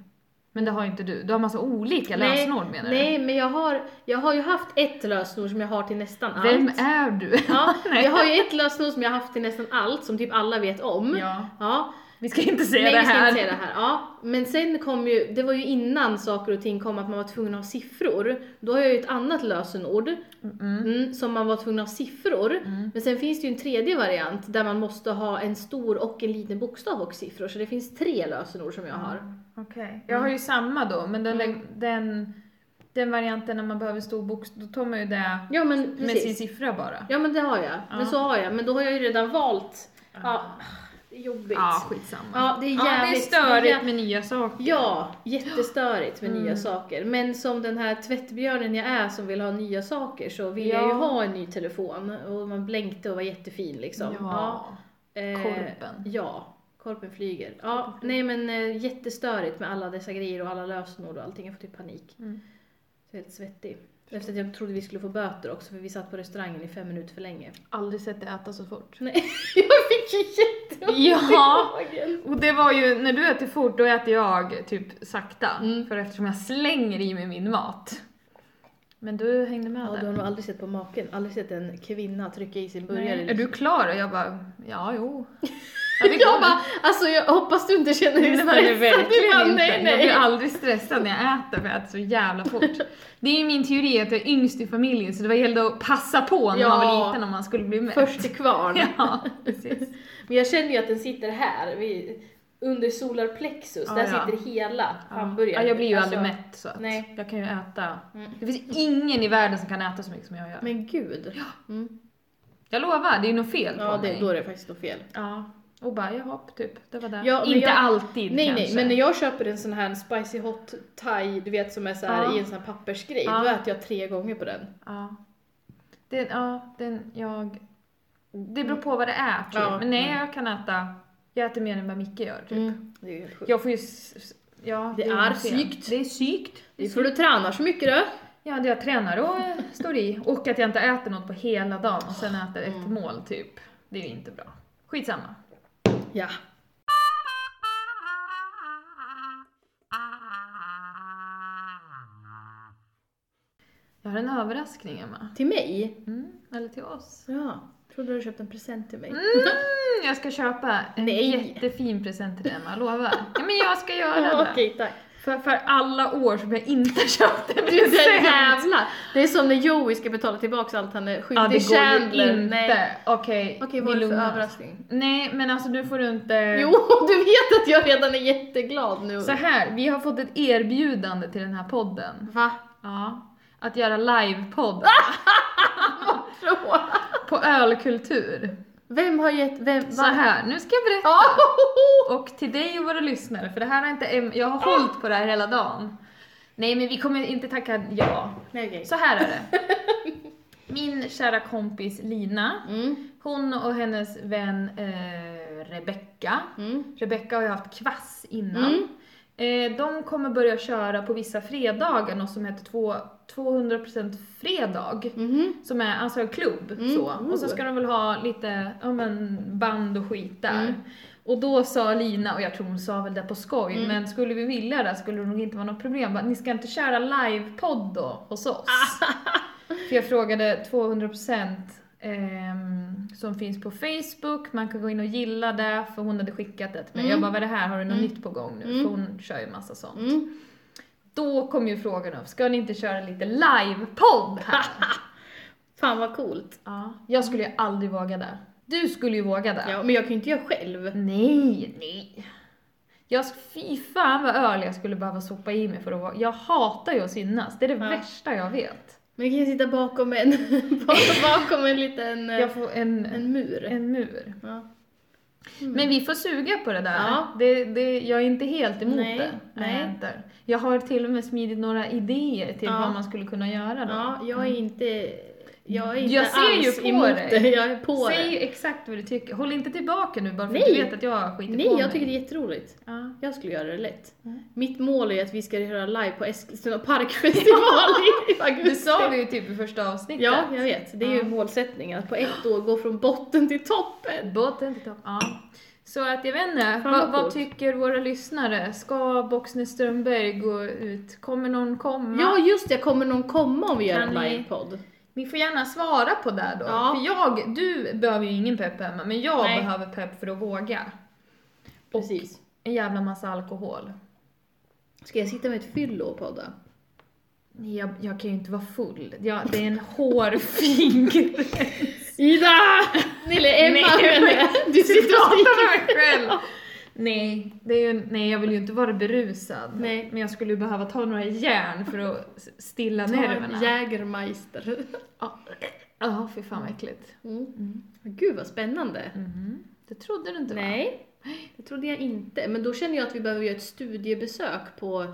[SPEAKER 1] Men det har ju inte du. Du har massa olika lösenord menar du?
[SPEAKER 2] Nej, men jag har, jag har ju haft ett lösenord som jag har till nästan allt.
[SPEAKER 1] Vem är du?
[SPEAKER 2] Ja,
[SPEAKER 1] Nej.
[SPEAKER 2] jag har ju ett lösenord som jag har haft till nästan allt, som typ alla vet om.
[SPEAKER 1] Ja.
[SPEAKER 2] Ja.
[SPEAKER 1] Vi ska inte säga
[SPEAKER 2] Nej,
[SPEAKER 1] det
[SPEAKER 2] vi ska
[SPEAKER 1] här.
[SPEAKER 2] inte säga det här. Ja. Men sen kom ju, det var ju innan saker och ting kom att man var tvungen att ha siffror. Då har jag ju ett annat lösenord
[SPEAKER 1] Mm.
[SPEAKER 2] mm, som man var tvungen att ha siffror. Men sen finns det ju en tredje variant där man måste ha en stor och en liten bokstav och siffror. Så det finns tre lösenord som jag har.
[SPEAKER 1] Okej. Jag har ju samma då, men den,
[SPEAKER 2] Mm.
[SPEAKER 1] den, den varianten när man behöver stor bokstav, då tar man ju det
[SPEAKER 2] Ja men
[SPEAKER 1] med sin
[SPEAKER 2] precis.
[SPEAKER 1] siffra bara.
[SPEAKER 2] Ja men det har jag. Men
[SPEAKER 1] Ja.
[SPEAKER 2] så har jag. Men då har jag ju redan valt. Ja, det är jobbigt.
[SPEAKER 1] Ja, ah, skitsamma.
[SPEAKER 2] Ja, det är
[SPEAKER 1] ja, det är
[SPEAKER 2] jävligt-
[SPEAKER 1] störigt med nya saker.
[SPEAKER 2] Ja, jättestörigt med nya
[SPEAKER 1] Mm.
[SPEAKER 2] saker. Men som den här tvättbjörnen jag är som vill ha nya saker så vill jag ju
[SPEAKER 1] Ja.
[SPEAKER 2] ha en ny telefon. Och man blänkte och var jättefin liksom.
[SPEAKER 1] Ja.
[SPEAKER 2] Ja, eh,
[SPEAKER 1] korpen.
[SPEAKER 2] Ja, korpen flyger. Ja, nej men eh, jättestörigt med alla dessa grejer och alla lösenord och allting. Jag får typ panik.
[SPEAKER 1] Mm.
[SPEAKER 2] Så jag är helt svettig. Efter att jag trodde vi skulle få böter också för vi satt på restaurangen i fem minuter för länge.
[SPEAKER 1] Aldrig sett dig äta så fort.
[SPEAKER 2] Nej, jag fick ju jätteont
[SPEAKER 1] Ja.
[SPEAKER 2] i magen.
[SPEAKER 1] Och det var ju, när du äter fort då äter jag typ sakta.
[SPEAKER 2] Mm.
[SPEAKER 1] För eftersom jag slänger i mig min mat. Men du hängde med
[SPEAKER 2] Ja, du
[SPEAKER 1] där.
[SPEAKER 2] har nog aldrig sett på maken, aldrig sett en kvinna trycka i sin burgare. liksom.
[SPEAKER 1] Nej. Är du klar? Och jag bara, ja jo.
[SPEAKER 2] Jag bara, alltså jag hoppas du inte känner dig
[SPEAKER 1] Nej, men det är
[SPEAKER 2] stressad. Du bara,
[SPEAKER 1] verkligen inte.
[SPEAKER 2] nej,
[SPEAKER 1] Jag blir
[SPEAKER 2] nej.
[SPEAKER 1] aldrig stressad när jag äter för jag äter så jävla fort. Det är ju min teori att jag är yngst i familjen så det var gällde att passa på när man
[SPEAKER 2] Ja.
[SPEAKER 1] var liten om man skulle bli mätt.
[SPEAKER 2] Först till kvarn.
[SPEAKER 1] Ja, precis.
[SPEAKER 2] Men jag känner ju att den sitter här, vid, under solarplexus.
[SPEAKER 1] Ja, ja.
[SPEAKER 2] där sitter hela
[SPEAKER 1] Ja,
[SPEAKER 2] hamburgaren.
[SPEAKER 1] jag blir ju
[SPEAKER 2] Alltså,
[SPEAKER 1] aldrig mätt så att
[SPEAKER 2] nej.
[SPEAKER 1] jag kan ju äta.
[SPEAKER 2] Mm.
[SPEAKER 1] Det finns ingen i världen som kan äta så mycket som jag gör.
[SPEAKER 2] Men gud. Mm.
[SPEAKER 1] Jag lovar, det är något fel
[SPEAKER 2] Ja,
[SPEAKER 1] på
[SPEAKER 2] det,
[SPEAKER 1] mig.
[SPEAKER 2] då är det faktiskt något fel.
[SPEAKER 1] Ja, och bara jaha, typ. Det var det.
[SPEAKER 2] Ja, men
[SPEAKER 1] Inte
[SPEAKER 2] jag-
[SPEAKER 1] alltid
[SPEAKER 2] Nej,
[SPEAKER 1] kanske.
[SPEAKER 2] nej, men när jag köper en sån här spicy hot thai, du vet som är så här
[SPEAKER 1] Ja.
[SPEAKER 2] i en sån här pappersgrej,
[SPEAKER 1] Ja.
[SPEAKER 2] då äter jag tre gånger på den.
[SPEAKER 1] Ja. Den, ja, den jag... Det beror på vad det är typ.
[SPEAKER 2] Ja,
[SPEAKER 1] Men nej,
[SPEAKER 2] mm.
[SPEAKER 1] jag kan äta... Jag äter mer än vad Micke gör typ.
[SPEAKER 2] Det är ju helt sjukt.
[SPEAKER 1] Jag får ju... s- s- Ja,
[SPEAKER 2] Det
[SPEAKER 1] något
[SPEAKER 2] är
[SPEAKER 1] fel.
[SPEAKER 2] sykt.
[SPEAKER 1] Det är sykt.
[SPEAKER 2] Det är för du tränar så mycket du.
[SPEAKER 1] Ja, det jag tränar och eh, står i. Och att jag inte äter något på hela dagen och sen äter ett mål typ. Det är ju inte bra. Skitsamma.
[SPEAKER 2] Ja.
[SPEAKER 1] Jag har en överraskning Emma.
[SPEAKER 2] Till mig?
[SPEAKER 1] Mm, eller till oss.
[SPEAKER 2] Ja. Trodde du köpte en present till mig?
[SPEAKER 1] Mm, jag ska köpa en
[SPEAKER 2] Nej.
[SPEAKER 1] jättefin present till dig Emma, lovar. Ja, men jag ska göra
[SPEAKER 2] Ja,
[SPEAKER 1] det.
[SPEAKER 2] Okej, tack.
[SPEAKER 1] För, för alla år som jag inte köpt en
[SPEAKER 2] Du den
[SPEAKER 1] present.
[SPEAKER 2] jävlar! Det är som när Joey ska betala tillbaka allt han är skyldig
[SPEAKER 1] Ja, det går
[SPEAKER 2] Chandler.
[SPEAKER 1] ju inte. Okej,
[SPEAKER 2] Okej,
[SPEAKER 1] vi
[SPEAKER 2] vad är det för
[SPEAKER 1] lugnar oss.
[SPEAKER 2] överraskning?
[SPEAKER 1] Nej, men alltså du får inte...
[SPEAKER 2] Jo, du vet att jag redan är jätteglad nu.
[SPEAKER 1] Så här, vi har fått ett erbjudande till den här podden.
[SPEAKER 2] Va?
[SPEAKER 1] Ja. Att göra livepodd
[SPEAKER 2] Ah! Förlåt.
[SPEAKER 1] på ölkultur.
[SPEAKER 2] Vem har gett vem?
[SPEAKER 1] Så
[SPEAKER 2] Va?
[SPEAKER 1] här, nu ska jag berätta.
[SPEAKER 2] Ah, ho, ho, ho.
[SPEAKER 1] Och till dig och våra lyssnare, för det här har inte Em- jag har hållit på det här hela dagen. Nej men vi kommer inte tacka ja.
[SPEAKER 2] Nej, okej.
[SPEAKER 1] Så här är det. Min kära kompis Lina,
[SPEAKER 2] Mm,
[SPEAKER 1] hon och hennes vän eh, Rebecka.
[SPEAKER 2] mm,
[SPEAKER 1] Rebecka har ju haft kvass innan.
[SPEAKER 2] Mm.
[SPEAKER 1] Eh, de kommer börja köra på vissa fredagar något som heter två- 200% fredag.
[SPEAKER 2] mhm,
[SPEAKER 1] Som är alltså en klubb
[SPEAKER 2] Mm.
[SPEAKER 1] så.
[SPEAKER 2] Oh.
[SPEAKER 1] Och så ska de väl ha lite ja, men, band och skit där.
[SPEAKER 2] Mm.
[SPEAKER 1] Och då sa Lina, och jag tror hon sa väl det på skoj,
[SPEAKER 2] Mm.
[SPEAKER 1] men skulle vi vilja det skulle det nog inte vara något problem. Bara, Ni ska inte köra livepodd då hos oss? För jag frågade 200% ehm, som finns på Facebook, man kan gå in och gilla det, för hon hade skickat det till mig.
[SPEAKER 2] Mm.
[SPEAKER 1] Jag bara, vad är det här? Har du något
[SPEAKER 2] Mm.
[SPEAKER 1] nytt på gång nu?
[SPEAKER 2] Mm.
[SPEAKER 1] För hon kör ju massa sånt.
[SPEAKER 2] mm.
[SPEAKER 1] Då kom ju frågan upp, ska ni inte köra lite livepodd här?
[SPEAKER 2] Fan vad coolt.
[SPEAKER 1] Ja, jag skulle ju aldrig våga det. Du skulle ju våga det.
[SPEAKER 2] Ja, men jag kan ju inte göra själv.
[SPEAKER 1] Nej, nej. Jag, fy fan vad öl jag skulle behöva sopa i mig för att vara... Jag hatar ju att synas. Det är det
[SPEAKER 2] Ja.
[SPEAKER 1] värsta jag vet.
[SPEAKER 2] Men vi kan ju sitta bakom en, bakom, bakom en liten eh,
[SPEAKER 1] Jag får en,
[SPEAKER 2] en mur.
[SPEAKER 1] en mur.
[SPEAKER 2] Ja.
[SPEAKER 1] Men vi får suga på det där.
[SPEAKER 2] Ja.
[SPEAKER 1] Det, det, jag är inte helt emot
[SPEAKER 2] Nej,
[SPEAKER 1] det. Jag, är
[SPEAKER 2] nej.
[SPEAKER 1] inte. jag har till och med smidit några idéer till
[SPEAKER 2] Ja.
[SPEAKER 1] vad man skulle kunna göra då.
[SPEAKER 2] ja, jag är inte, jag är inte
[SPEAKER 1] Jag ser ju
[SPEAKER 2] alls
[SPEAKER 1] på
[SPEAKER 2] emot
[SPEAKER 1] dig.
[SPEAKER 2] det. Jag är på
[SPEAKER 1] Säg
[SPEAKER 2] det.
[SPEAKER 1] exakt vad du tycker. Håll inte tillbaka nu bara för att
[SPEAKER 2] Nej.
[SPEAKER 1] du vet att jag skiter
[SPEAKER 2] Nej,
[SPEAKER 1] på
[SPEAKER 2] jag
[SPEAKER 1] mig.
[SPEAKER 2] tycker det är jätteroligt.
[SPEAKER 1] Ja.
[SPEAKER 2] Jag skulle göra det lätt.
[SPEAKER 1] Mm.
[SPEAKER 2] Mitt mål är att vi ska göra live på Eskilstuna parkfestival i- i augusti.
[SPEAKER 1] Du sa det ju typ i första avsnittet.
[SPEAKER 2] Ja, jag vet. Det är ju
[SPEAKER 1] Ja.
[SPEAKER 2] målsättningen. Att på ett år gå från botten till toppen.
[SPEAKER 1] Båten till topp. Ja. Så att jag vet inte,
[SPEAKER 2] Fan,
[SPEAKER 1] vad,
[SPEAKER 2] vad
[SPEAKER 1] vad
[SPEAKER 2] coolt.
[SPEAKER 1] tycker våra lyssnare? Ska Boxner Strömberg gå ut? Kommer någon komma?
[SPEAKER 2] Ja, just det. Kommer någon komma om vi gör
[SPEAKER 1] Kan
[SPEAKER 2] en
[SPEAKER 1] ni-
[SPEAKER 2] livepodd?
[SPEAKER 1] Ni får gärna svara på det då.
[SPEAKER 2] Ja.
[SPEAKER 1] För jag, du behöver ju ingen pepp hemma, men jag
[SPEAKER 2] Nej.
[SPEAKER 1] behöver pepp för att våga. Och
[SPEAKER 2] Precis.
[SPEAKER 1] en jävla massa alkohol.
[SPEAKER 2] Ska jag sitta med ett fyllo och podda?
[SPEAKER 1] Jag, jag kan ju inte vara full. Jag, det är en hårfin gräns.
[SPEAKER 2] Ida! Eller Emma
[SPEAKER 1] Nej,
[SPEAKER 2] menar jag. Du sitter och skriker.
[SPEAKER 1] Hatar mig själv. Nej, det är ju, nej, jag vill ju inte vara berusad.
[SPEAKER 2] Nej.
[SPEAKER 1] Men jag skulle ju behöva ta några järn för att s- stilla
[SPEAKER 2] Ta en
[SPEAKER 1] nerverna.
[SPEAKER 2] Jägermeister.
[SPEAKER 1] Ja, ja fy fan vad äckligt.
[SPEAKER 2] Mm. Gud vad spännande.
[SPEAKER 1] Mhm. Det trodde du inte va?
[SPEAKER 2] Nej, det trodde jag inte. Men då känner jag att vi behöver göra ett studiebesök på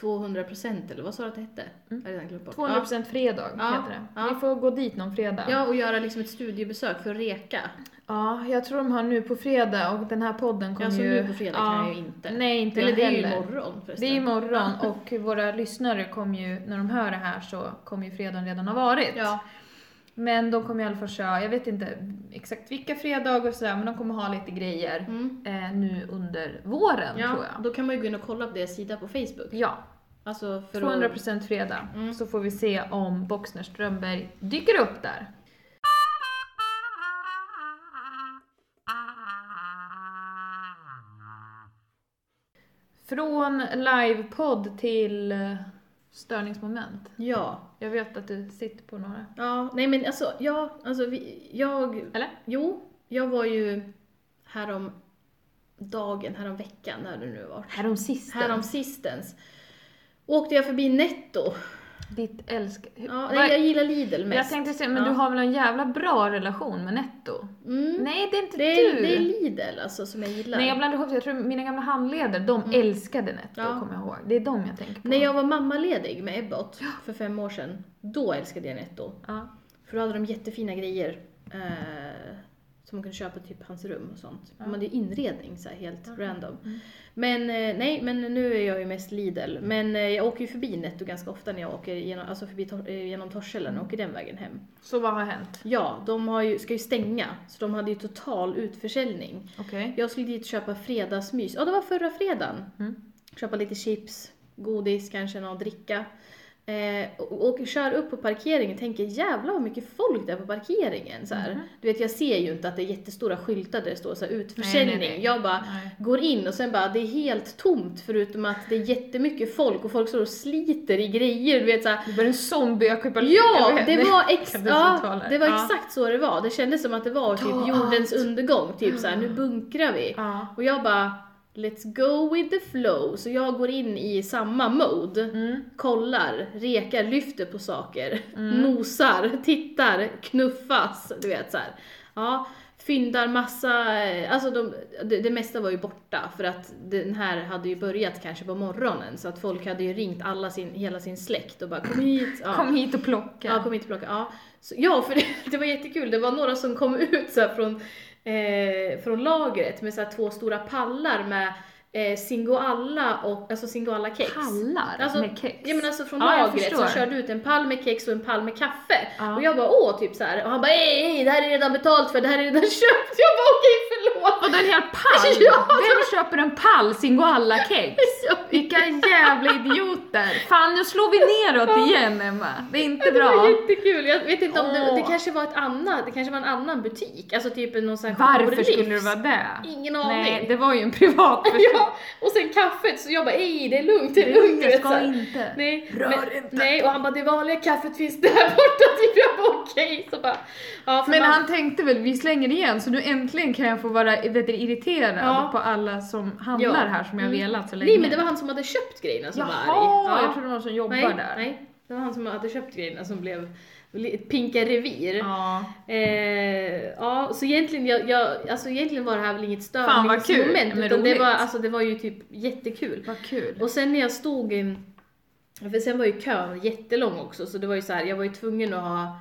[SPEAKER 2] 200% eller vad sa du att det hette?
[SPEAKER 1] Mm.
[SPEAKER 2] Jag har redan glömt bort.
[SPEAKER 1] 200% fredag
[SPEAKER 2] Ja,
[SPEAKER 1] heter det.
[SPEAKER 2] ja.
[SPEAKER 1] Vi får gå dit någon fredag.
[SPEAKER 2] Ja. ja, och göra liksom ett studiebesök för att reka.
[SPEAKER 1] Ja, jag tror de har nu på fredag och den här podden kommer
[SPEAKER 2] Ja, så
[SPEAKER 1] ju...
[SPEAKER 2] Alltså nu på fredag
[SPEAKER 1] ja.
[SPEAKER 2] kan jag ju inte.
[SPEAKER 1] Nej, inte
[SPEAKER 2] eller
[SPEAKER 1] jag
[SPEAKER 2] det är ju
[SPEAKER 1] heller.
[SPEAKER 2] imorgon
[SPEAKER 1] Det är
[SPEAKER 2] förresten.
[SPEAKER 1] imorgon och våra lyssnare kommer ju, när de hör det här så kommer ju fredagen redan ha varit.
[SPEAKER 2] Ja,
[SPEAKER 1] Men de kommer i alla fall köra, jag vet inte exakt vilka fredagar och sådär, men de kommer ha lite grejer
[SPEAKER 2] mm.
[SPEAKER 1] eh, nu under våren tror
[SPEAKER 2] ja
[SPEAKER 1] jag.
[SPEAKER 2] då kan man ju gå in och kolla på deras sida på Facebook.
[SPEAKER 1] Ja,
[SPEAKER 2] Alltså för
[SPEAKER 1] 200% fredag.
[SPEAKER 2] Mm.
[SPEAKER 1] Så får vi se om Boxner Strömberg dyker upp där. Från livepodd till eh, störningsmoment.
[SPEAKER 2] Ja.
[SPEAKER 1] Jag vet att du sitter på några.
[SPEAKER 2] Ja, nej men alltså, ja, alltså vi, jag...
[SPEAKER 1] Eller?
[SPEAKER 2] Jo, jag var ju härom dagen, härom veckan, när det nu var.
[SPEAKER 1] Härom sisten.
[SPEAKER 2] Härom sistens. Åkte jag förbi Netto.
[SPEAKER 1] Ditt älsk...
[SPEAKER 2] Ja,
[SPEAKER 1] Vad-
[SPEAKER 2] nej, jag gillar Lidl
[SPEAKER 1] jag,
[SPEAKER 2] mest.
[SPEAKER 1] tänkte säga, men
[SPEAKER 2] Ja.
[SPEAKER 1] du har väl en jävla bra relation med Netto?
[SPEAKER 2] Mm.
[SPEAKER 1] Nej, det är inte
[SPEAKER 2] Det
[SPEAKER 1] du!
[SPEAKER 2] är, det är Lidl alltså som jag gillar. Mm.
[SPEAKER 1] Nej, jag blandar ihop det. Jag tror mina gamla handledare, de älskade Netto,
[SPEAKER 2] Ja.
[SPEAKER 1] kommer jag ihåg. Det är de jag tänker på.
[SPEAKER 2] När jag var mammaledig med Ebbot för fem år sedan, då älskade jag Netto.
[SPEAKER 1] Ja.
[SPEAKER 2] För då hade de jättefina grejer eh, som man kunde köpa till typ hans rum och sånt.
[SPEAKER 1] Ja.
[SPEAKER 2] De hade ju inredning så här, helt
[SPEAKER 1] Mm.
[SPEAKER 2] random.
[SPEAKER 1] Mm.
[SPEAKER 2] Men eh, nej, men nu är jag ju mest Lidl. Men eh, jag åker ju förbi Netto ganska ofta när jag åker genom, alltså förbi tor- eh, genom Torshälla och åker den vägen hem.
[SPEAKER 1] Så vad har hänt?
[SPEAKER 2] Ja, de har ju, ska ju stänga, så de hade ju total utförsäljning.
[SPEAKER 1] Okej.
[SPEAKER 2] Jag skulle dit köpa fredagsmys, ja det var förra fredagen.
[SPEAKER 1] Mm.
[SPEAKER 2] Köpa lite chips, godis, kanske någon dricka. Eh, och, och kör upp på parkeringen, tänker jävlar vad mycket folk det är på parkeringen. Så här.
[SPEAKER 1] Mhm.
[SPEAKER 2] Du vet jag ser ju inte att det är jättestora skyltar där det står så här, utförsäljning.
[SPEAKER 1] nej.
[SPEAKER 2] Jag bara
[SPEAKER 1] Nej.
[SPEAKER 2] går in och sen bara det är helt tomt förutom att det är jättemycket folk och folk står och sliter i grejer. Du vet så här,
[SPEAKER 1] Det var en zombieockupation.
[SPEAKER 2] Ja, det var, ex-
[SPEAKER 1] kan inte
[SPEAKER 2] ja,
[SPEAKER 1] uttala det.
[SPEAKER 2] det var
[SPEAKER 1] Ja.
[SPEAKER 2] exakt så det var. Det kändes som att det var typ
[SPEAKER 1] Ta
[SPEAKER 2] jordens
[SPEAKER 1] allt.
[SPEAKER 2] undergång. Typ såhär, nu bunkrar vi.
[SPEAKER 1] Ja.
[SPEAKER 2] Och jag bara, let's go with the flow. Så jag går in i samma mode.
[SPEAKER 1] Mm.
[SPEAKER 2] Kollar, rekar, lyfter på saker.
[SPEAKER 1] Mm.
[SPEAKER 2] Nosar, tittar, knuffas. Du vet såhär. Ja, fyndar massa, eh, alltså de, det, det mesta var ju borta. För att den här hade ju börjat kanske på morgonen. Så att folk hade ju ringt alla sin, hela sin släkt och bara kom hit. Ja.
[SPEAKER 1] Kom hit och plocka.
[SPEAKER 2] Ja, kom hit och plocka. Ja, så, ja för det, det var jättekul. Det var några som kom ut så här, från, eh, från lagret med så här, två stora pallar med eh, singoalla och alltså singoalla-kex.
[SPEAKER 1] Pallar
[SPEAKER 2] Alltså,
[SPEAKER 1] med kex.
[SPEAKER 2] Ja men alltså från
[SPEAKER 1] Ja, jag
[SPEAKER 2] lagret så
[SPEAKER 1] förstår.
[SPEAKER 2] körde ut en pall med kex och en pall med kaffe.
[SPEAKER 1] Ja.
[SPEAKER 2] Och jag bara åh typ så här. och han bara hej hej det här är redan betalt för, det här är redan köpt. Jag bara okej förlåt.
[SPEAKER 1] Vadå en hel pall?
[SPEAKER 2] Ja.
[SPEAKER 1] Vem köper en pall Singoalla-kex? Vilka jävla idioter! Fan nu slår vi neråt igen Emma. Det är inte
[SPEAKER 2] Det var
[SPEAKER 1] bra.
[SPEAKER 2] jättekul, jag vet inte om det,
[SPEAKER 1] Åh.
[SPEAKER 2] det kanske var ett annat, det kanske var en annan butik, alltså typ någon sån här
[SPEAKER 1] Varför
[SPEAKER 2] jourlivs.
[SPEAKER 1] skulle det vara det?
[SPEAKER 2] Ingen aning.
[SPEAKER 1] Nej, det var ju en privat person.
[SPEAKER 2] Ja, och sen kaffet, så jag bara ej det är lugnt, det är lugnt. du
[SPEAKER 1] Jag
[SPEAKER 2] vet,
[SPEAKER 1] ska
[SPEAKER 2] så här.
[SPEAKER 1] inte.
[SPEAKER 2] Nej,
[SPEAKER 1] Rör
[SPEAKER 2] men,
[SPEAKER 1] inte.
[SPEAKER 2] nej, och han bara det vanliga kaffet finns där borta, typ jag bara okej. Så bara, ja, för
[SPEAKER 1] Men
[SPEAKER 2] man,
[SPEAKER 1] han tänkte väl, vi slänger igen så nu äntligen kan jag få vara vet du, irriterad
[SPEAKER 2] Ja.
[SPEAKER 1] på alla som handlar
[SPEAKER 2] Ja.
[SPEAKER 1] här som jag
[SPEAKER 2] Mm.
[SPEAKER 1] velat så länge.
[SPEAKER 2] Nej men det var han som hade köpt grejerna som
[SPEAKER 1] Jaha,
[SPEAKER 2] var arg.
[SPEAKER 1] jag trodde det var någon som jobbar
[SPEAKER 2] nej,
[SPEAKER 1] där.
[SPEAKER 2] nej, det var han som hade köpt grejerna som blev li- pinka revir. Ja.
[SPEAKER 1] Ja.
[SPEAKER 2] Eh, ja, så egentligen, jag, jag, alltså egentligen var det här väl inget
[SPEAKER 1] Fan, vad kul,
[SPEAKER 2] störningsmoment
[SPEAKER 1] men
[SPEAKER 2] utan det
[SPEAKER 1] roligt.
[SPEAKER 2] var, alltså, det var ju typ jättekul.
[SPEAKER 1] Vad kul.
[SPEAKER 2] Och sen när jag stod, i- för sen var ju kön jättelång också så det var ju så här, jag var ju tvungen att ha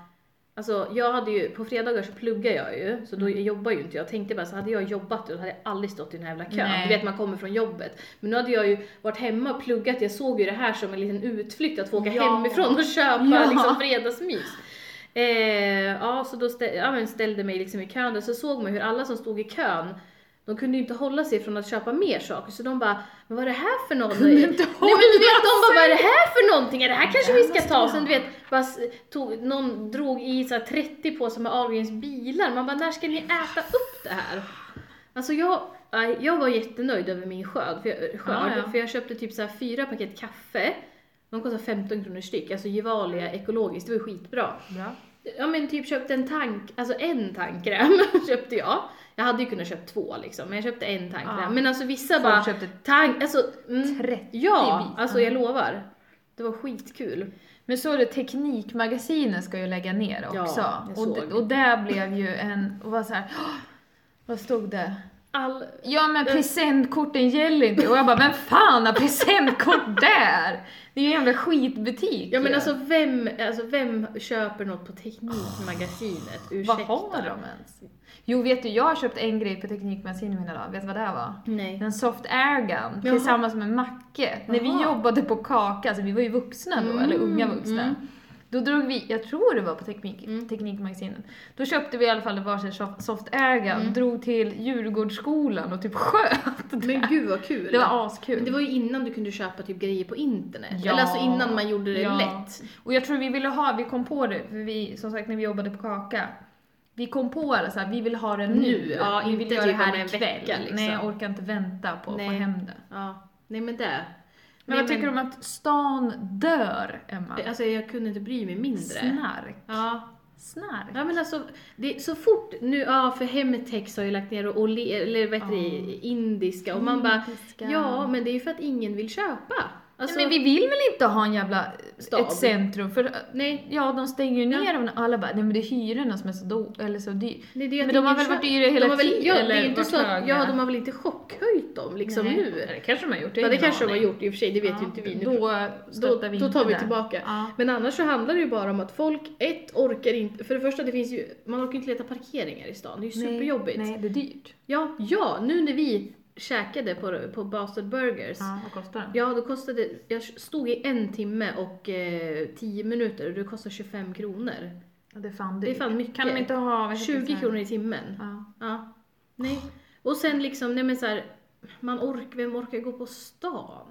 [SPEAKER 2] Alltså jag hade ju, på fredagar så pluggar jag ju, så då
[SPEAKER 1] Mm.
[SPEAKER 2] jobbar ju inte jag. Jag tänkte bara så hade jag jobbat då hade jag aldrig stått i den här jävla kön.
[SPEAKER 1] Nej.
[SPEAKER 2] Du vet man kommer från jobbet. Men nu hade jag ju varit hemma och pluggat, jag såg ju det här som en liten utflykt att få åka
[SPEAKER 1] Ja.
[SPEAKER 2] hemifrån och köpa
[SPEAKER 1] Ja.
[SPEAKER 2] liksom fredagsmys. Eh, ja, så då stä- ja, men ställde mig liksom i kön och så såg man hur alla som stod i kön de kunde ju inte hålla sig från att köpa mer saker så de bara, men vad är det här för något?
[SPEAKER 1] Kunde inte
[SPEAKER 2] Nej, men du vet, de
[SPEAKER 1] hålla
[SPEAKER 2] bara, vad är det här för någonting? Ja, Det här kanske vi
[SPEAKER 1] Det här
[SPEAKER 2] ska
[SPEAKER 1] måste
[SPEAKER 2] ta.
[SPEAKER 1] jag
[SPEAKER 2] Sen du vet, bara, s- tog, någon drog i så här 30 påsar med Ahlgrens bilar. Man bara, när ska ni äta upp det här? Alltså jag, nej, jag var jättenöjd över min skörd, för jag, eh, skörd,
[SPEAKER 1] Ja, ja.
[SPEAKER 2] För jag köpte typ så här fyra paket kaffe. De kostar 15 kronor styck, alltså Gevalia ekologiskt, det var ju skitbra.
[SPEAKER 1] Bra.
[SPEAKER 2] Ja men typ köpte en tank, alltså en tankkräm köpte jag. Jag hade ju kunnat köpt två liksom, men jag köpte en tankkräm.
[SPEAKER 1] Ja.
[SPEAKER 2] Men alltså vissa
[SPEAKER 1] Folk
[SPEAKER 2] bara,
[SPEAKER 1] köpte
[SPEAKER 2] tank, alltså mm,
[SPEAKER 1] 30
[SPEAKER 2] Ja,
[SPEAKER 1] bitar.
[SPEAKER 2] alltså jag lovar. Det var skitkul.
[SPEAKER 1] Men så är det Teknikmagasinet ska ju lägga ner
[SPEAKER 2] Ja,
[SPEAKER 1] också.
[SPEAKER 2] jag
[SPEAKER 1] och,
[SPEAKER 2] såg.
[SPEAKER 1] d- och där blev ju en, och var så här, "Åh, vad stod det?
[SPEAKER 2] All...
[SPEAKER 1] Ja
[SPEAKER 2] Eh.
[SPEAKER 1] men presentkorten gäller inte. Och jag bara, vem fan har presentkort där? Det är ju en jävla skitbutik
[SPEAKER 2] Ja men
[SPEAKER 1] ju.
[SPEAKER 2] alltså vem, alltså vem köper något på Teknikmagasinet?
[SPEAKER 1] Vad
[SPEAKER 2] Ursäkta.
[SPEAKER 1] har de ens? Jo vet du, jag har köpt en grej på Teknikmagasinet mina dagar. Vet du vad det var?
[SPEAKER 2] Nej.
[SPEAKER 1] En soft airgun
[SPEAKER 2] Jaha.
[SPEAKER 1] tillsammans med Macke. När vi
[SPEAKER 2] Jaha.
[SPEAKER 1] jobbade på Kaka, alltså vi var ju vuxna då,
[SPEAKER 2] Mm,
[SPEAKER 1] eller unga vuxna.
[SPEAKER 2] mm.
[SPEAKER 1] Då drog vi, jag tror det var på teknik,
[SPEAKER 2] Mm.
[SPEAKER 1] Teknikmagasinet, då köpte vi i alla fall varsin soft- soft airgun,
[SPEAKER 2] Mm.
[SPEAKER 1] drog till Djurgårdsskolan och typ sköt.
[SPEAKER 2] Men gud vad kul.
[SPEAKER 1] Det var askul.
[SPEAKER 2] Men det var ju innan du kunde köpa typ grejer på internet.
[SPEAKER 1] Ja.
[SPEAKER 2] Eller alltså innan man gjorde det
[SPEAKER 1] Ja.
[SPEAKER 2] lätt.
[SPEAKER 1] Och jag tror vi ville ha, vi kom på det, för vi, som sagt när vi jobbade på Kaka, vi kom på alla så här, vi vill ha det nu.
[SPEAKER 2] Nu, ja,
[SPEAKER 1] vi vill
[SPEAKER 2] inte
[SPEAKER 1] göra det
[SPEAKER 2] typ om
[SPEAKER 1] här
[SPEAKER 2] en
[SPEAKER 1] ikväll.
[SPEAKER 2] vecka, liksom.
[SPEAKER 1] Nej, jag orkar inte vänta på att
[SPEAKER 2] Nej.
[SPEAKER 1] få hem det.
[SPEAKER 2] Ja. Nej men det.
[SPEAKER 1] Men vad tycker du om att stan dör, Emma?
[SPEAKER 2] Alltså jag kunde inte bry mig mindre.
[SPEAKER 1] Snark.
[SPEAKER 2] Ja,
[SPEAKER 1] Snark.
[SPEAKER 2] Ja men alltså, det, så fort nu, ja för Hemtex har ju lagt ner och, och eller vad heter
[SPEAKER 1] Ja.
[SPEAKER 2] det, indiska och man bara,
[SPEAKER 1] Indiska.
[SPEAKER 2] ja men det är ju för att ingen vill köpa. Alltså,
[SPEAKER 1] Nej, men vi vill väl inte ha en jävla eh,
[SPEAKER 2] Stad.
[SPEAKER 1] ett centrum? För eh,
[SPEAKER 2] nej,
[SPEAKER 1] ja, de stänger ju ner dem och alla bara, nej men det är hyrorna som är så, do- eller så dyr.
[SPEAKER 2] nej, det är ju
[SPEAKER 1] Men
[SPEAKER 2] att
[SPEAKER 1] de har
[SPEAKER 2] ingen
[SPEAKER 1] väl varit
[SPEAKER 2] köper.
[SPEAKER 1] dyra hela
[SPEAKER 2] de har väl,
[SPEAKER 1] tiden,
[SPEAKER 2] Ja, det
[SPEAKER 1] eller
[SPEAKER 2] är ju inte
[SPEAKER 1] varit
[SPEAKER 2] så att, ja
[SPEAKER 1] höga?
[SPEAKER 2] de har väl inte chockhöjt dem liksom
[SPEAKER 1] Nej. Ja,
[SPEAKER 2] nu.
[SPEAKER 1] Det kanske de har gjort,
[SPEAKER 2] Ja,
[SPEAKER 1] har
[SPEAKER 2] det
[SPEAKER 1] ingen
[SPEAKER 2] kanske de har
[SPEAKER 1] aning.
[SPEAKER 2] gjort i och för sig, det vet ju inte vi nu.
[SPEAKER 1] Då
[SPEAKER 2] då,
[SPEAKER 1] stöttar vi
[SPEAKER 2] då
[SPEAKER 1] inte
[SPEAKER 2] tar vi
[SPEAKER 1] det.
[SPEAKER 2] tillbaka.
[SPEAKER 1] Ja.
[SPEAKER 2] Men annars så handlar det ju bara om att folk, ett, orkar inte, för det första det finns ju, man orkar inte leta parkeringar i stan, det är ju superjobbigt.
[SPEAKER 1] Nej, det är dyrt.
[SPEAKER 2] Ja, ja, nu när vi käkade på, på Bastard Burgers
[SPEAKER 1] Ja, vad kostar den?
[SPEAKER 2] Ja, då kostade, jag stod i en timme och eh, 10 minuter och det kostar 25 kronor.
[SPEAKER 1] Ja, det är fan
[SPEAKER 2] Det är
[SPEAKER 1] dyrt.
[SPEAKER 2] fan mycket.
[SPEAKER 1] Kan de inte ha... vad heter det,
[SPEAKER 2] 20
[SPEAKER 1] sån här-
[SPEAKER 2] kronor i timmen.
[SPEAKER 1] Ja.
[SPEAKER 2] Ja. Nej. Och sen liksom, nej men så här, man ork, vem orkar gå på stan?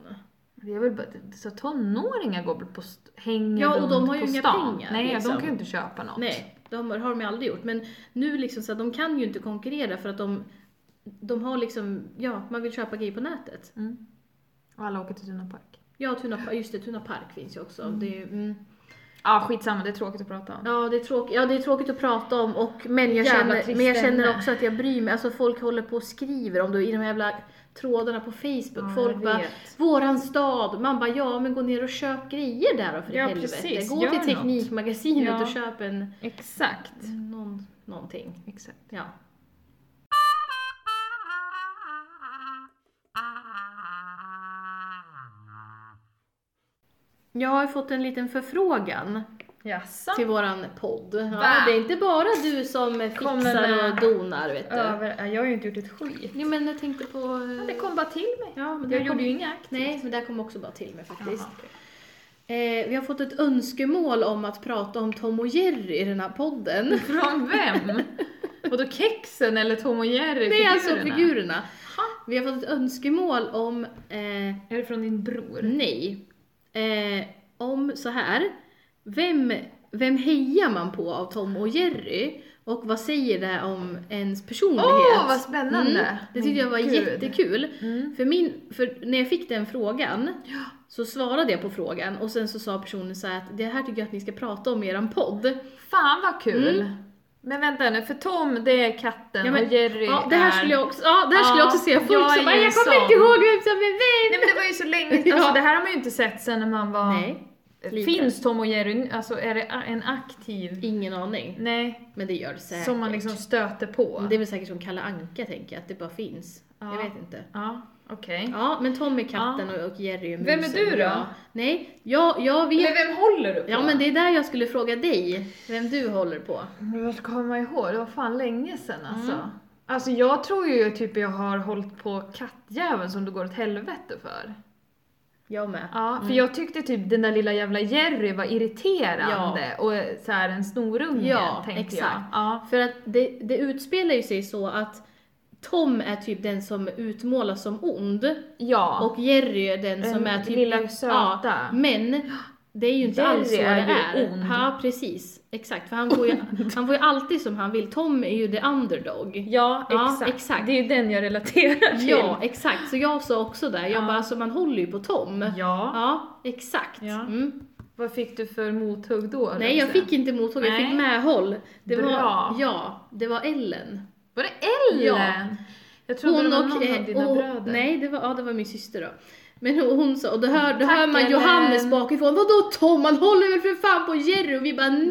[SPEAKER 1] Det är väl bara, så tonåringar går väl på, st- hänger
[SPEAKER 2] Ja, och de
[SPEAKER 1] runt
[SPEAKER 2] har ju
[SPEAKER 1] på
[SPEAKER 2] inga
[SPEAKER 1] stan.
[SPEAKER 2] pengar,
[SPEAKER 1] Nej,
[SPEAKER 2] liksom.
[SPEAKER 1] de kan ju inte köpa något.
[SPEAKER 2] Nej, det har, har de ju aldrig gjort. Men nu liksom så här, de kan ju inte konkurrera för att de, de har liksom, ja, man vill köpa grejer på nätet.
[SPEAKER 1] Mm. Och alla åker till Tuna Park.
[SPEAKER 2] Ja, Tuna, just det, Tuna Park finns ju också.
[SPEAKER 1] Mm.
[SPEAKER 2] Det, är- mm.
[SPEAKER 1] Ja, skitsamma, det är tråkigt att prata om.
[SPEAKER 2] Ja det, är tråk- ja, det är tråkigt att prata om, och, men, jag
[SPEAKER 1] Jävla
[SPEAKER 2] känner,
[SPEAKER 1] trist
[SPEAKER 2] men jag känner
[SPEAKER 1] ämne.
[SPEAKER 2] också att jag bryr mig. Alltså folk håller på och skriver om det i de här jävla trådarna på Facebook.
[SPEAKER 1] Ja,
[SPEAKER 2] folk
[SPEAKER 1] jag
[SPEAKER 2] bara
[SPEAKER 1] vet.
[SPEAKER 2] “våran stad”. Man bara “ja, men gå ner och köp grejer där då för
[SPEAKER 1] Ja,
[SPEAKER 2] helvete”.
[SPEAKER 1] precis.
[SPEAKER 2] Gå
[SPEAKER 1] Gör
[SPEAKER 2] till
[SPEAKER 1] något."
[SPEAKER 2] Teknikmagasinet
[SPEAKER 1] Ja.
[SPEAKER 2] och köp en,
[SPEAKER 1] Exakt.
[SPEAKER 2] någon, någonting.
[SPEAKER 1] Mm, Exakt.
[SPEAKER 2] Ja. Jag har fått en liten förfrågan
[SPEAKER 1] Jaså?
[SPEAKER 2] till våran podd.
[SPEAKER 1] Va?
[SPEAKER 2] Ja, det är inte bara du som
[SPEAKER 1] Kommer
[SPEAKER 2] fixar
[SPEAKER 1] med-
[SPEAKER 2] och donar vet du.
[SPEAKER 1] Över, ja, jag har ju inte gjort ett skit.
[SPEAKER 2] Nej men jag tänkte på... eh,
[SPEAKER 1] Ja, Det kom bara till mig.
[SPEAKER 2] Ja, men det
[SPEAKER 1] Jag
[SPEAKER 2] här kom...
[SPEAKER 1] gjorde ju inga aktivt.
[SPEAKER 2] Nej, men det här kom också bara till mig
[SPEAKER 1] Jaha,
[SPEAKER 2] faktiskt.
[SPEAKER 1] okej.
[SPEAKER 2] Eh, vi har fått ett önskemål om att prata om Tom och Jerry i den här podden.
[SPEAKER 1] Från vem? Vadå kexen eller Tom och Jerry?
[SPEAKER 2] Nej, alltså
[SPEAKER 1] figurerna?
[SPEAKER 2] figurerna.
[SPEAKER 1] Ha?
[SPEAKER 2] Vi har fått ett önskemål om... Eh,
[SPEAKER 1] Är det från din
[SPEAKER 2] Mm,
[SPEAKER 1] bror?
[SPEAKER 2] nej. Eh, om så här. Vem, vem hejar man på av Tom och Jerry? Och vad säger det om ens personlighet?
[SPEAKER 1] Åh, vad spännande!
[SPEAKER 2] Mm, det tyckte jag var
[SPEAKER 1] Gud.
[SPEAKER 2] jättekul.
[SPEAKER 1] Mm.
[SPEAKER 2] För, min, för när jag fick den frågan så svarade jag på frågan och sen så sa personen så här att det här tycker jag att ni ska prata om i eran podd.
[SPEAKER 1] Fan vad kul! Men vänta nu, för Tom det är katten
[SPEAKER 2] Mm. Ja, men-
[SPEAKER 1] och Jerry
[SPEAKER 2] Ja, det här
[SPEAKER 1] är...
[SPEAKER 2] skulle jag också, ja, det här skulle jag också se.
[SPEAKER 1] Ja,
[SPEAKER 2] Folk
[SPEAKER 1] jag är
[SPEAKER 2] som bara,
[SPEAKER 1] ju
[SPEAKER 2] jag kommer
[SPEAKER 1] sån."
[SPEAKER 2] inte ihåg vem som är
[SPEAKER 1] Nej
[SPEAKER 2] vem.
[SPEAKER 1] men det var ju så länge
[SPEAKER 2] Ja.
[SPEAKER 1] alltså, det här har man ju inte sett sen när man var...
[SPEAKER 2] Nej, lite.
[SPEAKER 1] Finns Tom och Jerry nu? Alltså är det a- en aktiv?
[SPEAKER 2] ingen aning.
[SPEAKER 1] Nej,
[SPEAKER 2] Men det gör det säkert.
[SPEAKER 1] som man liksom stöter på.
[SPEAKER 2] Men Det är väl säkert som Kalle Anka tänker jag, att det bara finns.
[SPEAKER 1] Ja.
[SPEAKER 2] Jag vet inte.
[SPEAKER 1] Ja, okej.
[SPEAKER 2] Ja, men Tom är katten och, och Jerry är
[SPEAKER 1] Vem är
[SPEAKER 2] musen.
[SPEAKER 1] du då?
[SPEAKER 2] Ja. Nej, jag, jag vet...
[SPEAKER 1] Men vem håller du på?
[SPEAKER 2] Ja, men det är där jag skulle fråga dig, vem du håller på.
[SPEAKER 1] Men Jag ska komma ihåg, det var fan länge sedan alltså.
[SPEAKER 2] Mm.
[SPEAKER 1] Alltså jag tror ju typ jag har hållit på kattjäveln som du går åt helvete för.
[SPEAKER 2] Jag med.
[SPEAKER 1] Ja, för
[SPEAKER 2] Mm.
[SPEAKER 1] jag tyckte typ den där lilla jävla Jerry var irriterande och så här en snorunge
[SPEAKER 2] Ja,
[SPEAKER 1] tänkte jag.
[SPEAKER 2] exakt.
[SPEAKER 1] Ja,
[SPEAKER 2] För att det, det utspelar ju sig så att Tom är typ den som utmålas som ond
[SPEAKER 1] ja.
[SPEAKER 2] och Jerry är den som är typ...
[SPEAKER 1] lilla söta.
[SPEAKER 2] Ja, men det är ju inte alls så det
[SPEAKER 1] Jerry är
[SPEAKER 2] är.
[SPEAKER 1] ju ond.
[SPEAKER 2] Ja, precis. Exakt, för han får, ju, han får ju alltid som han vill. Tom är ju the underdog.
[SPEAKER 1] Ja,
[SPEAKER 2] Ja,
[SPEAKER 1] exakt.
[SPEAKER 2] exakt.
[SPEAKER 1] Det är ju den jag relaterar till.
[SPEAKER 2] Ja, exakt. Så jag sa också där, jag
[SPEAKER 1] Ja.
[SPEAKER 2] bara alltså man håller ju på Tom.
[SPEAKER 1] ja.
[SPEAKER 2] Ja, exakt.
[SPEAKER 1] Ja.
[SPEAKER 2] Mm.
[SPEAKER 1] Vad fick du för mothugg då?
[SPEAKER 2] Nej, jag fick inte mothugg, jag
[SPEAKER 1] Nej.
[SPEAKER 2] fick medhåll. Det
[SPEAKER 1] Bra.
[SPEAKER 2] var, ja, det var Ellen.
[SPEAKER 1] Var det Ellen?
[SPEAKER 2] Ja.
[SPEAKER 1] Jag trodde det var någon
[SPEAKER 2] eh,
[SPEAKER 1] av dina
[SPEAKER 2] och-
[SPEAKER 1] bröder.
[SPEAKER 2] Nej, det var, ja, det var min syster då. Men hon, hon sa, och då hör, då
[SPEAKER 1] Tack,
[SPEAKER 2] hör man
[SPEAKER 1] Ellen.
[SPEAKER 2] Johannes bakifrån, vadå Tom, han håller väl för fan på Jerry? Och vi bara nej!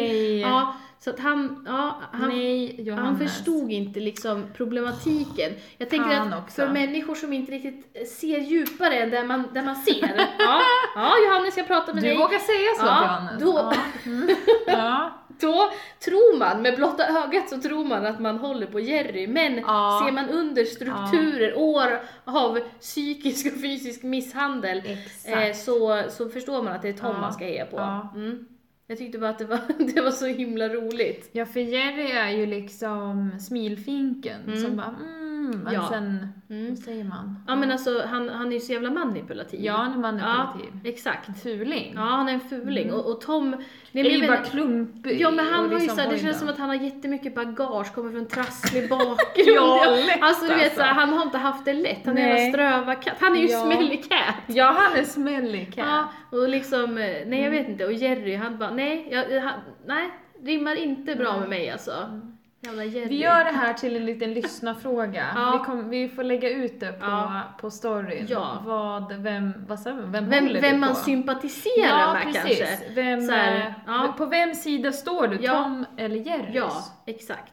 [SPEAKER 1] Nej.
[SPEAKER 2] Ja, så att han, ja, han,
[SPEAKER 1] Nej, Johannes.
[SPEAKER 2] han förstod inte liksom problematiken. Jag tänker
[SPEAKER 1] Fan
[SPEAKER 2] att
[SPEAKER 1] också.
[SPEAKER 2] för människor som inte riktigt ser djupare än där man, där man ser. ja, ja, Johannes jag pratar med
[SPEAKER 1] Du
[SPEAKER 2] dig.
[SPEAKER 1] vågar säga så
[SPEAKER 2] Ja,
[SPEAKER 1] till Johannes?
[SPEAKER 2] då-
[SPEAKER 1] Ja. Mm. ja.
[SPEAKER 2] Då tror man, med blotta ögat så tror man att man håller på Jerry, men
[SPEAKER 1] Ja.
[SPEAKER 2] ser man under strukturer, år av psykisk och fysisk misshandel,
[SPEAKER 1] Exakt.
[SPEAKER 2] eh, så, så förstår man att det är Tom
[SPEAKER 1] Ja.
[SPEAKER 2] man ska heja på.
[SPEAKER 1] Ja.
[SPEAKER 2] Mm. Jag tyckte bara att det var, det var så himla roligt.
[SPEAKER 1] Ja, för Jerry är ju liksom smilfinken
[SPEAKER 2] Mm.
[SPEAKER 1] som bara mm, men
[SPEAKER 2] Ja.
[SPEAKER 1] sen,
[SPEAKER 2] Mm.
[SPEAKER 1] vad säger man?
[SPEAKER 2] Ja men alltså han, han är ju så jävla manipulativ.
[SPEAKER 1] Ja, han är manipulativ.
[SPEAKER 2] Exakt.
[SPEAKER 1] En Fuling.
[SPEAKER 2] Ja, han är en fuling.
[SPEAKER 1] Mm.
[SPEAKER 2] Och, och Tom... Nej, men
[SPEAKER 1] är
[SPEAKER 2] jag
[SPEAKER 1] ju
[SPEAKER 2] vet-
[SPEAKER 1] bara klumpig.
[SPEAKER 2] Ja men han
[SPEAKER 1] och
[SPEAKER 2] har ju
[SPEAKER 1] liksom,
[SPEAKER 2] såhär, det
[SPEAKER 1] oj
[SPEAKER 2] känns
[SPEAKER 1] då.
[SPEAKER 2] som att han har jättemycket bagage, kommer från trasslig bakgrund.
[SPEAKER 1] Ja, lätt
[SPEAKER 2] alltså du vet
[SPEAKER 1] alltså.
[SPEAKER 2] såhär, han har inte haft det lätt. Han är en
[SPEAKER 1] Nej.
[SPEAKER 2] jävla ströva katt. Han är ju
[SPEAKER 1] Ja.
[SPEAKER 2] smellig cat.
[SPEAKER 1] Ja, han är smellig cat. Mm.
[SPEAKER 2] Ja, och liksom, eh, nej jag vet inte. Och Jerry han bara, nej, jag, eh, han, nej, rimmar inte bra med mig alltså. Jävla Jerry.
[SPEAKER 1] Mm. Vi gör det här till en liten lyssnafråga.
[SPEAKER 2] Ja.
[SPEAKER 1] Vi, kom, vi får lägga ut det på,
[SPEAKER 2] Ja.
[SPEAKER 1] på storyn.
[SPEAKER 2] Ja.
[SPEAKER 1] Vad, vem, vad sa vi? Vem,
[SPEAKER 2] vem,
[SPEAKER 1] håller
[SPEAKER 2] vem
[SPEAKER 1] du
[SPEAKER 2] man
[SPEAKER 1] på?
[SPEAKER 2] sympatiserar
[SPEAKER 1] ja,
[SPEAKER 2] med
[SPEAKER 1] precis.
[SPEAKER 2] kanske.
[SPEAKER 1] Vem,
[SPEAKER 2] Så här,
[SPEAKER 1] eh,
[SPEAKER 2] ja.
[SPEAKER 1] På vems sida står du?
[SPEAKER 2] Ja.
[SPEAKER 1] Tom eller Jerrys?
[SPEAKER 2] Ja, exakt.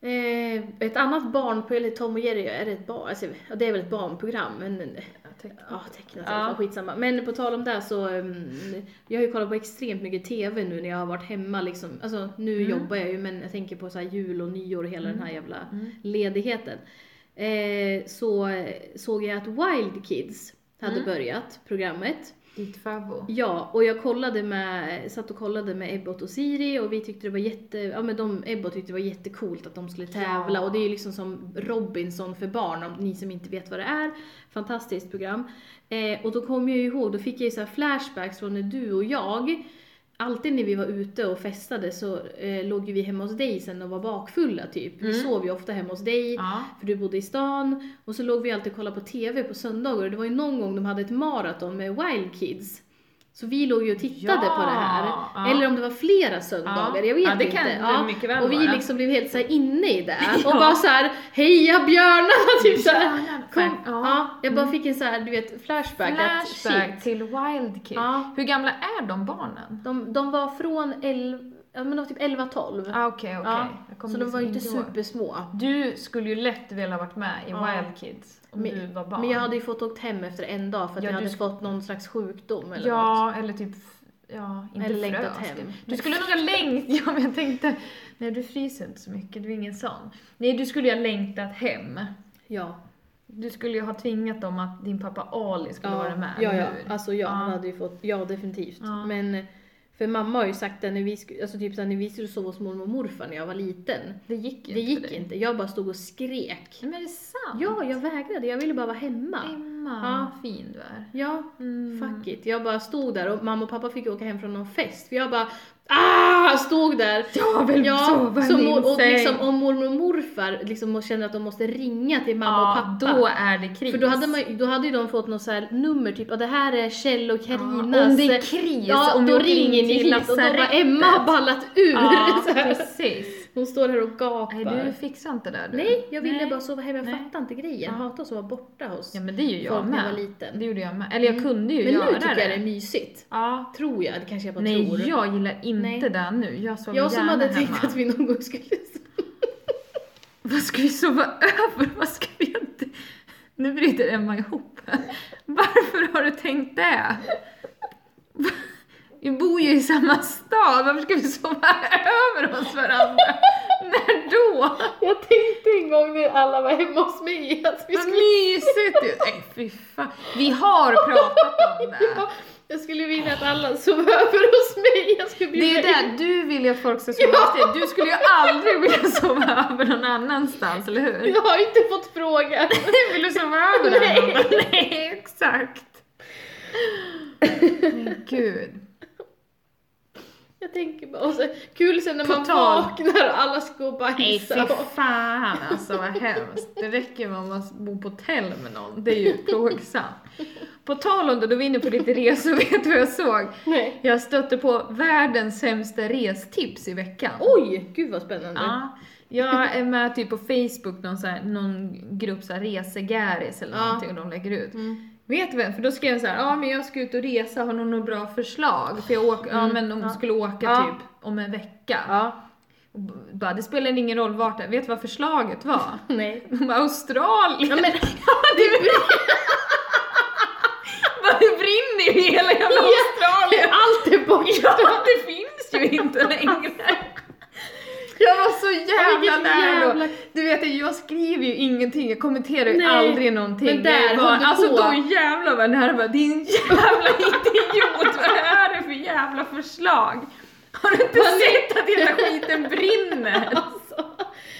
[SPEAKER 2] Eh, ett annat barnprogram, eller Tom och Jerry, är det ett barn? Alltså, ja, det är väl ett barnprogram, men eh,
[SPEAKER 1] Jag tycker-
[SPEAKER 2] Ja, tecknat i
[SPEAKER 1] Ja.
[SPEAKER 2] alla fall, skitsamma. Men på tal om det så, mm, jag har ju kollat på extremt mycket TV nu när jag har varit hemma liksom. Alltså nu
[SPEAKER 1] Mm.
[SPEAKER 2] jobbar jag ju men jag tänker på så här jul och nyår och hela den här jävla
[SPEAKER 1] Mm.
[SPEAKER 2] ledigheten. Eh, så eh, såg jag att Wild Kids hade
[SPEAKER 1] Mm.
[SPEAKER 2] börjat programmet.
[SPEAKER 1] Ditt favvo.
[SPEAKER 2] Ja, och jag kollade med, satt och kollade med Ebbot och Siri och vi tyckte det var jätte, ja men de, Ebbot tyckte det var jättecoolt att de skulle tävla
[SPEAKER 1] Ja.
[SPEAKER 2] och det är ju liksom som Robinson för barn om ni som inte vet vad det är. Fantastiskt program. Eh, och då kom jag ju ihåg, då fick jag ju så här flashbacks från när du och jag Alltid när vi var ute och festade så eh, låg ju vi hemma hos dig sen och var bakfulla typ. Vi
[SPEAKER 1] Mm.
[SPEAKER 2] sov ju ofta hemma hos dig.
[SPEAKER 1] Ja.
[SPEAKER 2] För du bodde i stan och så låg vi alltid och kollade på TV på söndagar och det var ju någon gång de hade ett maraton med Wild Kids. Så vi låg ju och tittade
[SPEAKER 1] Ja,
[SPEAKER 2] på det här.
[SPEAKER 1] ja.
[SPEAKER 2] Eller om det var flera söndagar,
[SPEAKER 1] Ja,
[SPEAKER 2] jag vet
[SPEAKER 1] ja, det
[SPEAKER 2] inte.
[SPEAKER 1] kan det mycket väl
[SPEAKER 2] och vi
[SPEAKER 1] vara.
[SPEAKER 2] liksom blev helt så här inne i det och
[SPEAKER 1] Ja.
[SPEAKER 2] bara så här heja björnarna typ så här.
[SPEAKER 1] Björnarna,
[SPEAKER 2] Kom, ja.
[SPEAKER 1] ja. Mm.
[SPEAKER 2] jag bara fick en så här du vet flashback, att
[SPEAKER 1] Flashback
[SPEAKER 2] shit.
[SPEAKER 1] till Wild Kids.
[SPEAKER 2] Ja.
[SPEAKER 1] Hur gamla är de barnen?
[SPEAKER 2] De, de var från 11, ja men de var typ 11-12.
[SPEAKER 1] Ah, Okej, okej.
[SPEAKER 2] Ja,
[SPEAKER 1] Jag
[SPEAKER 2] Så
[SPEAKER 1] kommer
[SPEAKER 2] de var ju inte
[SPEAKER 1] liksom ihåg.
[SPEAKER 2] supersmå.
[SPEAKER 1] Du skulle ju lätt vilja varit med i
[SPEAKER 2] Ja.
[SPEAKER 1] Wild Kids om
[SPEAKER 2] Men-
[SPEAKER 1] du var barn.
[SPEAKER 2] Men jag hade ju fått åkt hem efter en dag för att
[SPEAKER 1] Ja,
[SPEAKER 2] jag
[SPEAKER 1] du
[SPEAKER 2] hade
[SPEAKER 1] sk-
[SPEAKER 2] fått någon slags sjukdom eller något.
[SPEAKER 1] Ja, eller typ Ja, inte
[SPEAKER 2] Eller
[SPEAKER 1] frös.
[SPEAKER 2] längtat hem.
[SPEAKER 1] Du skulle nog ha längtat, ja men jag tänkte, nej du fryser inte så mycket, du är ingen sån. Nej, du skulle ju ha längtat hem.
[SPEAKER 2] Ja.
[SPEAKER 1] Du skulle ju ha tvingat dem att din pappa Ali skulle
[SPEAKER 2] ja.
[SPEAKER 1] vara med,
[SPEAKER 2] Ja, ja.
[SPEAKER 1] eller hur?
[SPEAKER 2] Alltså ja,
[SPEAKER 1] Ja.
[SPEAKER 2] han hade ju fått, ja definitivt.
[SPEAKER 1] Ja.
[SPEAKER 2] Men för mamma har ju sagt det när vi, sku- alltså typ så här, när vi skulle sova hos mormor och morfar när jag var liten.
[SPEAKER 1] Det gick ju
[SPEAKER 2] Det
[SPEAKER 1] för
[SPEAKER 2] gick
[SPEAKER 1] dig.
[SPEAKER 2] inte, jag bara stod och skrek.
[SPEAKER 1] Nej, men det är sant.
[SPEAKER 2] Ja, jag vägrade, jag ville bara vara hemma.
[SPEAKER 1] Emma,
[SPEAKER 2] Ja.
[SPEAKER 1] vad fin du är.
[SPEAKER 2] Ja,
[SPEAKER 1] Mm.
[SPEAKER 2] fuck it. Jag bara stod där och mamma och pappa fick åka hem från någon fest för jag bara Ah, stod där.
[SPEAKER 1] Jag vill sova i
[SPEAKER 2] så
[SPEAKER 1] min
[SPEAKER 2] mor- och
[SPEAKER 1] säng.
[SPEAKER 2] liksom, om mormor och morfar liksom känner att de måste ringa till mamma och
[SPEAKER 1] ja,
[SPEAKER 2] pappa.
[SPEAKER 1] då är det kris.
[SPEAKER 2] För då hade, man, ju- då hade ju de fått något så här nummer, typ att det här är Kjell och
[SPEAKER 1] Ja,
[SPEAKER 2] Karinas... eh,
[SPEAKER 1] om det är kris,
[SPEAKER 2] ja,
[SPEAKER 1] om
[SPEAKER 2] då
[SPEAKER 1] vi åker in
[SPEAKER 2] ringer ni
[SPEAKER 1] till
[SPEAKER 2] hit och då bara
[SPEAKER 1] lasarettet.
[SPEAKER 2] Emma har ballat ur.
[SPEAKER 1] Ja,
[SPEAKER 2] Så här.
[SPEAKER 1] precis.
[SPEAKER 2] Hon står här och gapar.
[SPEAKER 1] Nej, du fixar inte det där du.
[SPEAKER 2] Nej, jag ville
[SPEAKER 1] Nej.
[SPEAKER 2] bara sova hemma. Jag
[SPEAKER 1] Nej.
[SPEAKER 2] fattar inte grejen. Jag
[SPEAKER 1] Ja.
[SPEAKER 2] hatar att sova borta hos
[SPEAKER 1] Ja men det är ju jag
[SPEAKER 2] folk när jag var
[SPEAKER 1] med.
[SPEAKER 2] liten. Mm.
[SPEAKER 1] Det gjorde jag med. Eller jag kunde ju
[SPEAKER 2] Men nu
[SPEAKER 1] göra
[SPEAKER 2] tycker jag det är
[SPEAKER 1] det.
[SPEAKER 2] mysigt.
[SPEAKER 1] Ja.
[SPEAKER 2] Tror jag. Det kanske jag bara
[SPEAKER 1] Nej,
[SPEAKER 2] tror.
[SPEAKER 1] jag gillar inte
[SPEAKER 2] Nej.
[SPEAKER 1] det nu. Jag sover
[SPEAKER 2] Jag som
[SPEAKER 1] gärna
[SPEAKER 2] hade
[SPEAKER 1] hemma.
[SPEAKER 2] tänkt att vi någon gång skulle...
[SPEAKER 1] Vad ska vi sova över? Vad ska vi inte... Nu bryter Emma ihop. Varför har du tänkt det? Vi bor ju i samma stad, varför ska vi sova över hos varandra? När då?
[SPEAKER 2] Jag tänkte en gång när alla var hemma hos mig att vi
[SPEAKER 1] Vad
[SPEAKER 2] skulle...
[SPEAKER 1] mysigt ju! Nej fy fan. Vi har pratat om det.
[SPEAKER 2] Ja, jag skulle vilja att alla sov över hos mig. Jag skulle
[SPEAKER 1] Det är ju
[SPEAKER 2] bjuda in-
[SPEAKER 1] det, du vill ju att folk ska sova hos dig. Du skulle ju aldrig vilja sova över någon annanstans, eller hur?
[SPEAKER 2] Jag har ju inte fått frågan.
[SPEAKER 1] Vill du sova över den?
[SPEAKER 2] Nej.
[SPEAKER 1] Nej. Nej, exakt. Men gud.
[SPEAKER 2] Jag tänker bara, och så, kul sen när
[SPEAKER 1] På
[SPEAKER 2] man
[SPEAKER 1] tal-
[SPEAKER 2] vaknar och alla ska gå och
[SPEAKER 1] Nej fy
[SPEAKER 2] bajsa. och-
[SPEAKER 1] fan alltså vad hemskt. Det räcker med om man bor på hotell med någon. Det är ju plågsamt. På tal om det, då vi är inne på lite resor, vet du vad jag såg?
[SPEAKER 2] Nej.
[SPEAKER 1] Jag stötte på världens sämsta restips i veckan.
[SPEAKER 2] Oj, gud vad spännande.
[SPEAKER 1] Ja, jag är med typ på Facebook, någon, så här, någon grupp så här, resegäris eller
[SPEAKER 2] Ja.
[SPEAKER 1] någonting och de lägger ut.
[SPEAKER 2] Mm.
[SPEAKER 1] Vet du vem? För då skrev jag så här, ja men jag ska ut och resa, har någon några bra förslag? För jag åker, ja
[SPEAKER 2] Mm,
[SPEAKER 1] men om
[SPEAKER 2] ja.
[SPEAKER 1] skulle åka
[SPEAKER 2] Ja.
[SPEAKER 1] typ om en vecka.
[SPEAKER 2] ja.
[SPEAKER 1] Och b- Bara, det spelar ingen roll vart det är, vet du vad förslaget var?
[SPEAKER 2] Nej.
[SPEAKER 1] Hon bara, Australien!
[SPEAKER 2] Ja, men,
[SPEAKER 1] Bara, det brinner ju i hela jävla
[SPEAKER 2] Ja.
[SPEAKER 1] Australien!
[SPEAKER 2] allt är borta. Alltså.
[SPEAKER 1] Ja, det finns ju inte längre! Jag var så jävla
[SPEAKER 2] vilket
[SPEAKER 1] nära
[SPEAKER 2] jävla-
[SPEAKER 1] då. Du vet, jag skriver ju ingenting, jag kommenterar ju
[SPEAKER 2] Nej.
[SPEAKER 1] aldrig någonting.
[SPEAKER 2] Men där
[SPEAKER 1] Jag är bara,
[SPEAKER 2] höll du
[SPEAKER 1] Alltså
[SPEAKER 2] på.
[SPEAKER 1] då jävlar vad jag nära jag bara, din jävla idiot, vad är det för jävla förslag? Har du inte sett att hela skiten brinner?
[SPEAKER 2] Alltså,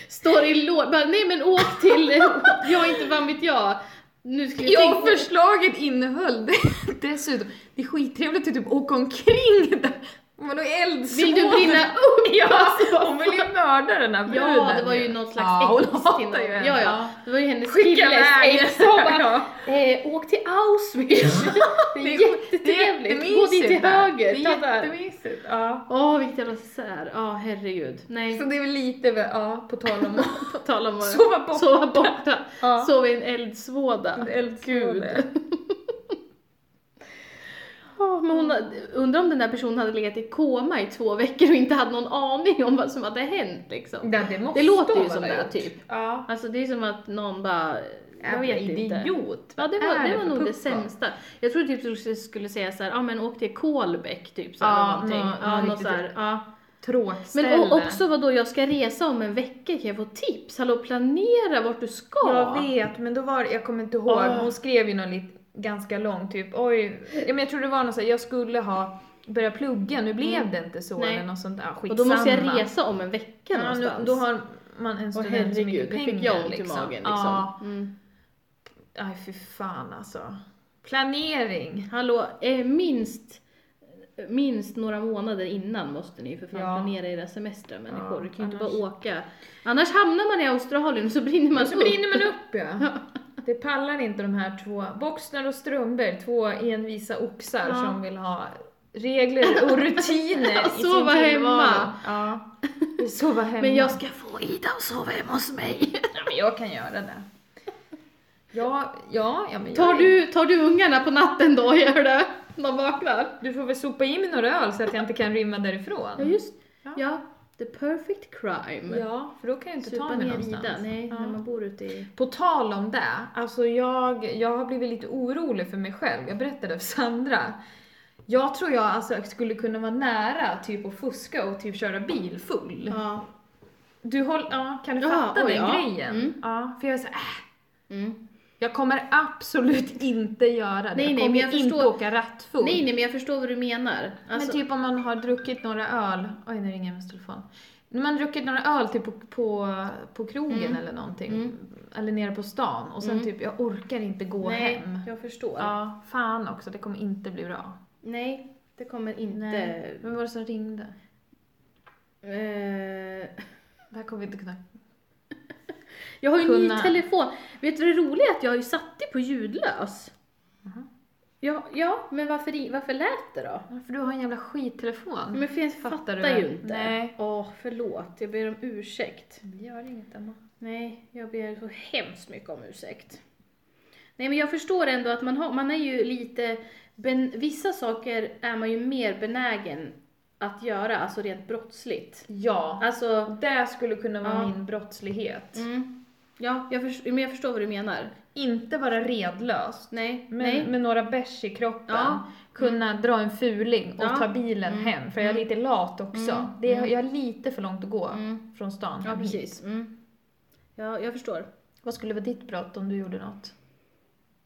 [SPEAKER 2] står i lår. Bara, nej men åk till, jag inte vad vet jag. Nu skulle jag
[SPEAKER 1] Ja,
[SPEAKER 2] tänka-
[SPEAKER 1] förslaget innehöll det- dessutom, det är skittrevligt att typ åka omkring där. Vadå eldsvåda?
[SPEAKER 2] Vill du brinna upp?
[SPEAKER 1] Ja,
[SPEAKER 2] Alltså,
[SPEAKER 1] hon vill ju mörda den här bruden.
[SPEAKER 2] Ja, det var ju något slags
[SPEAKER 1] ja, hon
[SPEAKER 2] ex
[SPEAKER 1] hatar
[SPEAKER 2] till någon.
[SPEAKER 1] ju henne.
[SPEAKER 2] Ja, ja. Det var ju hennes
[SPEAKER 1] Skicka
[SPEAKER 2] killes
[SPEAKER 1] iväg
[SPEAKER 2] ex som bara,
[SPEAKER 1] Ja.
[SPEAKER 2] eh, åk till Auschwitz. Det är jättetrevligt. Gå dit till
[SPEAKER 1] jättemysigt där.
[SPEAKER 2] höger.
[SPEAKER 1] Det
[SPEAKER 2] ta
[SPEAKER 1] är
[SPEAKER 2] där.
[SPEAKER 1] jättemysigt. Ja.
[SPEAKER 2] Åh, vilket jävla sär. Ja, herregud. Nej,
[SPEAKER 1] Så det är väl lite, väl- ja, på tal om att
[SPEAKER 2] på tal om att
[SPEAKER 1] sova bort.
[SPEAKER 2] sova borta.
[SPEAKER 1] Ja.
[SPEAKER 2] Sova i en eldsvåda.
[SPEAKER 1] En eldsvåda.
[SPEAKER 2] Ja, men hon, undrar om den där personen hade legat i koma i två veckor och inte hade någon aning om vad som hade hänt liksom.
[SPEAKER 1] Ja, det, måste
[SPEAKER 2] Det låter ju
[SPEAKER 1] hon
[SPEAKER 2] som
[SPEAKER 1] ha
[SPEAKER 2] det,
[SPEAKER 1] gjort.
[SPEAKER 2] typ.
[SPEAKER 1] Ja.
[SPEAKER 2] Alltså det är som att någon bara, jag
[SPEAKER 1] Jävla
[SPEAKER 2] vet inte.
[SPEAKER 1] idiot.
[SPEAKER 2] Ja det
[SPEAKER 1] Vad är
[SPEAKER 2] var, det var
[SPEAKER 1] för
[SPEAKER 2] nog det
[SPEAKER 1] pucko?
[SPEAKER 2] sämsta. Jag tror typ du skulle säga såhär, ja men åk till Kolbäck typ. Så
[SPEAKER 1] Ja,
[SPEAKER 2] ja, någonting.
[SPEAKER 1] nå-
[SPEAKER 2] ja,
[SPEAKER 1] nå
[SPEAKER 2] något
[SPEAKER 1] riktigt-
[SPEAKER 2] såhär, ja.
[SPEAKER 1] Tråkställe.
[SPEAKER 2] Men och, också vad då jag ska resa om en vecka, kan jag få tips? Hallå planera vart du ska!
[SPEAKER 1] Jag vet, men då var det- jag kommer inte ihåg,
[SPEAKER 2] Ah.
[SPEAKER 1] hon skrev ju någon lit, ganska lång typ, oj, ja, men jag tror det var något såhär, jag skulle ha börjat plugga, nu blev
[SPEAKER 2] Mm.
[SPEAKER 1] det inte så
[SPEAKER 2] Nej.
[SPEAKER 1] eller något sånt, ah, skitsamma.
[SPEAKER 2] och då måste jag resa om en vecka
[SPEAKER 1] ja, nu,
[SPEAKER 2] någonstans.
[SPEAKER 1] Då har man en
[SPEAKER 2] Åh
[SPEAKER 1] student så
[SPEAKER 2] herregud,
[SPEAKER 1] mycket
[SPEAKER 2] det
[SPEAKER 1] pengar
[SPEAKER 2] fick jag ont i
[SPEAKER 1] liksom.
[SPEAKER 2] magen liksom.
[SPEAKER 1] Ja,
[SPEAKER 2] Mm.
[SPEAKER 1] aj fy fan alltså. Planering.
[SPEAKER 2] Hallå, eh, minst, minst några månader innan måste ni ju för fan
[SPEAKER 1] Ja.
[SPEAKER 2] planera era semestrar människor.
[SPEAKER 1] Ja,
[SPEAKER 2] du kan ju inte
[SPEAKER 1] annars-
[SPEAKER 2] bara åka. Annars hamnar man i Australien och så brinner man
[SPEAKER 1] Och så
[SPEAKER 2] upp.
[SPEAKER 1] brinner man upp ja. Det pallar inte de här två, Boxner och Strömberg, två envisa oxar
[SPEAKER 2] Ja.
[SPEAKER 1] som vill ha regler och rutiner i sin
[SPEAKER 2] Sova hemma.
[SPEAKER 1] tillvaro. Ja. Sova hemma.
[SPEAKER 2] Men jag ska få Ida och sova hemma hos mig.
[SPEAKER 1] Ja, men jag kan göra det. Ja, ja, ja men
[SPEAKER 2] Tar
[SPEAKER 1] jag...
[SPEAKER 2] du, tar du ungarna på natten då, gör du? De vaknar.
[SPEAKER 1] Du får väl sopa i mig några öl så att jag inte kan rymma
[SPEAKER 2] Ja
[SPEAKER 1] därifrån.
[SPEAKER 2] just ja.
[SPEAKER 1] Ja.
[SPEAKER 2] The perfect crime.
[SPEAKER 1] Ja, för då kan jag inte
[SPEAKER 2] Supa
[SPEAKER 1] ta mig
[SPEAKER 2] ner
[SPEAKER 1] någonstans.
[SPEAKER 2] Ida, nej,
[SPEAKER 1] Ja.
[SPEAKER 2] när man bor ute i...
[SPEAKER 1] På tal om det, alltså jag, jag har blivit lite orolig för mig själv. Jag berättade för Sandra. Jag tror jag alltså skulle kunna vara nära typ att fuska och typ köra bil full.
[SPEAKER 2] Ja.
[SPEAKER 1] Du håll, ja, kan du
[SPEAKER 2] Ja,
[SPEAKER 1] fatta
[SPEAKER 2] oj,
[SPEAKER 1] den
[SPEAKER 2] ja.
[SPEAKER 1] grejen?
[SPEAKER 2] Mm.
[SPEAKER 1] Ja, för jag är så, här, äh,
[SPEAKER 2] Mm.
[SPEAKER 1] jag kommer absolut inte göra det.
[SPEAKER 2] Nej, nej,
[SPEAKER 1] jag kommer
[SPEAKER 2] men jag
[SPEAKER 1] inte
[SPEAKER 2] förstår-
[SPEAKER 1] åka rattfull.
[SPEAKER 2] Nej nej men jag förstår vad du menar. Alltså,
[SPEAKER 1] Men typ om man har druckit några öl, oj nu ringer min telefon. När man har druckit några öl typ på, på, på krogen
[SPEAKER 2] Mm.
[SPEAKER 1] eller någonting,
[SPEAKER 2] Mm.
[SPEAKER 1] eller nere på stan och sen
[SPEAKER 2] Mm.
[SPEAKER 1] typ jag orkar inte gå
[SPEAKER 2] nej,
[SPEAKER 1] hem.
[SPEAKER 2] jag förstår.
[SPEAKER 1] Ja, fan också, det kommer inte bli bra.
[SPEAKER 2] Nej, det kommer inte...
[SPEAKER 1] Nej. Vem var det som ringde?
[SPEAKER 2] Eh,
[SPEAKER 1] Det här kommer vi inte kunna...
[SPEAKER 2] jag har ju en ny
[SPEAKER 1] Kunna.
[SPEAKER 2] telefon. Vet du det roliga är att jag har ju satt det på ljudlös.
[SPEAKER 1] Mhm.
[SPEAKER 2] Ja, ja men varför, i- varför lät det då?
[SPEAKER 1] För du har en jävla skittelefon.
[SPEAKER 2] Men för jag
[SPEAKER 1] Fattar
[SPEAKER 2] fattar,
[SPEAKER 1] du
[SPEAKER 2] ju
[SPEAKER 1] väl?
[SPEAKER 2] inte.
[SPEAKER 1] Nej.
[SPEAKER 2] Åh, förlåt. Jag ber om ursäkt.
[SPEAKER 1] Det gör inget Emma.
[SPEAKER 2] Nej, jag ber så hemskt mycket om ursäkt. Nej, men jag förstår ändå att man, har, man är ju lite... Ben, vissa saker är man ju mer benägen att göra, alltså rent brottsligt.
[SPEAKER 1] Ja.
[SPEAKER 2] Alltså...
[SPEAKER 1] Det skulle kunna vara
[SPEAKER 2] Ja.
[SPEAKER 1] min brottslighet.
[SPEAKER 2] Mm. Ja, jag, förs- men jag förstår vad du menar.
[SPEAKER 1] Inte vara redlös.
[SPEAKER 2] Nej, nej.
[SPEAKER 1] Men, med några bärs i kroppen.
[SPEAKER 2] Ja.
[SPEAKER 1] Kunna dra en fuling och
[SPEAKER 2] Ja.
[SPEAKER 1] ta bilen
[SPEAKER 2] Mm.
[SPEAKER 1] hem. För jag är
[SPEAKER 2] Mm.
[SPEAKER 1] lite lat också.
[SPEAKER 2] Mm.
[SPEAKER 1] Det är,
[SPEAKER 2] Mm.
[SPEAKER 1] jag är lite för långt att gå
[SPEAKER 2] Mm.
[SPEAKER 1] från stan
[SPEAKER 2] Ja,
[SPEAKER 1] hem hit.
[SPEAKER 2] precis. Mm. Ja, jag förstår.
[SPEAKER 1] Vad skulle vara ditt brott om du gjorde något?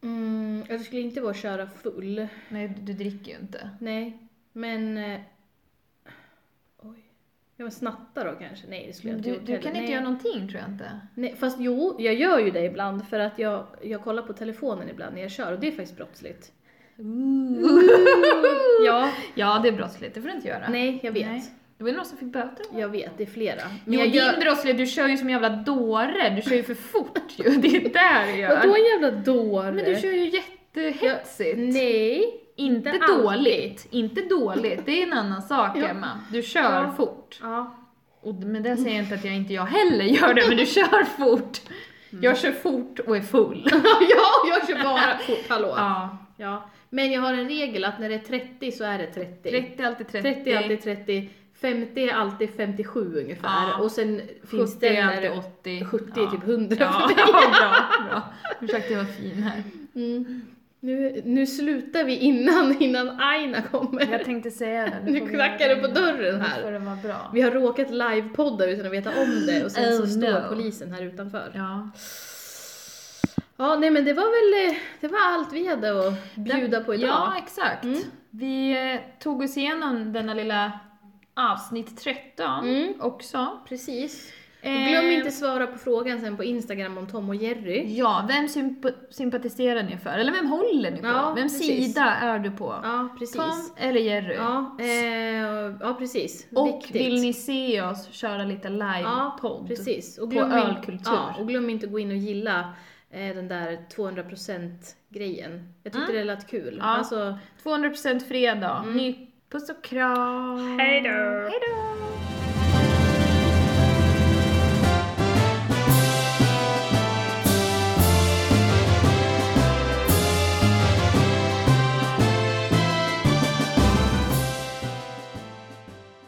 [SPEAKER 2] Mm, jag skulle inte vara att köra full.
[SPEAKER 1] Nej, du, du dricker ju inte.
[SPEAKER 2] Nej, men... eh, Oj. Ja, men snatta då kanske? Nej, det skulle jag
[SPEAKER 1] Du,
[SPEAKER 2] gjort
[SPEAKER 1] du
[SPEAKER 2] heller.
[SPEAKER 1] kan inte
[SPEAKER 2] Nej.
[SPEAKER 1] göra någonting tror jag inte.
[SPEAKER 2] Nej, fast jo, jag gör ju det ibland för att jag, jag kollar på telefonen ibland när jag kör och det är faktiskt brottsligt.
[SPEAKER 1] Mm.
[SPEAKER 2] Ja,
[SPEAKER 1] Ja, det är brottsligt. Det får du inte göra.
[SPEAKER 2] nej, jag vet.
[SPEAKER 1] Nej. Det var någon som fick böter.
[SPEAKER 2] Jag vet, det är flera.
[SPEAKER 1] Men jo,
[SPEAKER 2] jag
[SPEAKER 1] din brottslighet, du kör ju som en jävla dåre. Du kör ju för fort ju. Det är där du gör.
[SPEAKER 2] Vadå en jävla dåre?
[SPEAKER 1] Men du kör ju jättehetsigt.
[SPEAKER 2] Nej.
[SPEAKER 1] inte
[SPEAKER 2] inte
[SPEAKER 1] dåligt. Inte dåligt, det är en annan sak
[SPEAKER 2] Ja.
[SPEAKER 1] Emma. Du kör
[SPEAKER 2] Ja.
[SPEAKER 1] fort.
[SPEAKER 2] Ja.
[SPEAKER 1] Och, men det säger jag inte att jag inte jag heller gör det, men du kör fort.
[SPEAKER 2] Mm.
[SPEAKER 1] Jag kör fort och är full.
[SPEAKER 2] ja, jag kör bara fort, hallå. Ja.
[SPEAKER 1] Ja.
[SPEAKER 2] Men jag har en regel att när det är 30 så är det 30. 30,
[SPEAKER 1] 30 alltid 30.
[SPEAKER 2] 30 är alltid 30, 50 är alltid 57 ungefär.
[SPEAKER 1] Ja.
[SPEAKER 2] Och sen
[SPEAKER 1] 70
[SPEAKER 2] finns det
[SPEAKER 1] är
[SPEAKER 2] när
[SPEAKER 1] alltid
[SPEAKER 2] det
[SPEAKER 1] 80.
[SPEAKER 2] 70 är
[SPEAKER 1] ja.
[SPEAKER 2] typ 100 för
[SPEAKER 1] Ja,
[SPEAKER 2] mig.
[SPEAKER 1] bra, bra. Försökte vara fin här.
[SPEAKER 2] Mm. Nu, nu slutar vi innan, innan Aina kommer.
[SPEAKER 1] Jag tänkte säga det.
[SPEAKER 2] Nu
[SPEAKER 1] får vi
[SPEAKER 2] knackar
[SPEAKER 1] göra
[SPEAKER 2] det på dörren här.
[SPEAKER 1] Nu får det vara bra.
[SPEAKER 2] Vi har råkat livepodda utan att veta om det och sen
[SPEAKER 1] Oh,
[SPEAKER 2] så står
[SPEAKER 1] no.
[SPEAKER 2] polisen här utanför.
[SPEAKER 1] Ja.
[SPEAKER 2] Ja, nej men det var väl eh, det var allt vi hade att bjuda på idag.
[SPEAKER 1] Ja, exakt.
[SPEAKER 2] Mm.
[SPEAKER 1] Vi eh, tog oss igenom denna lilla avsnitt 13
[SPEAKER 2] Mm.
[SPEAKER 1] också.
[SPEAKER 2] Precis.
[SPEAKER 1] Eh,
[SPEAKER 2] Och glöm inte svara på frågan sen på Instagram om Tom och Jerry.
[SPEAKER 1] Eh, Ja, vem symp- sympatiserar ni för? Eller vem håller ni på?
[SPEAKER 2] Ja,
[SPEAKER 1] vem
[SPEAKER 2] precis.
[SPEAKER 1] sida är du på?
[SPEAKER 2] Ja, precis.
[SPEAKER 1] Tom eller Jerry?
[SPEAKER 2] Ja, eh, ja precis.
[SPEAKER 1] Och
[SPEAKER 2] Viktigt.
[SPEAKER 1] vill ni se oss köra lite
[SPEAKER 2] ja,
[SPEAKER 1] livepodd?
[SPEAKER 2] precis. Och
[SPEAKER 1] på
[SPEAKER 2] glöm in-
[SPEAKER 1] ölkultur.
[SPEAKER 2] Ja, och glöm inte att gå in och gilla eh, den där 200% grejen. Jag tyckte
[SPEAKER 1] Mm.
[SPEAKER 2] det lät kul.
[SPEAKER 1] Ja.
[SPEAKER 2] Alltså,
[SPEAKER 1] 200% fredag.
[SPEAKER 2] Mm.
[SPEAKER 1] Ny, puss och kram!
[SPEAKER 2] Hej då.
[SPEAKER 1] Hej då!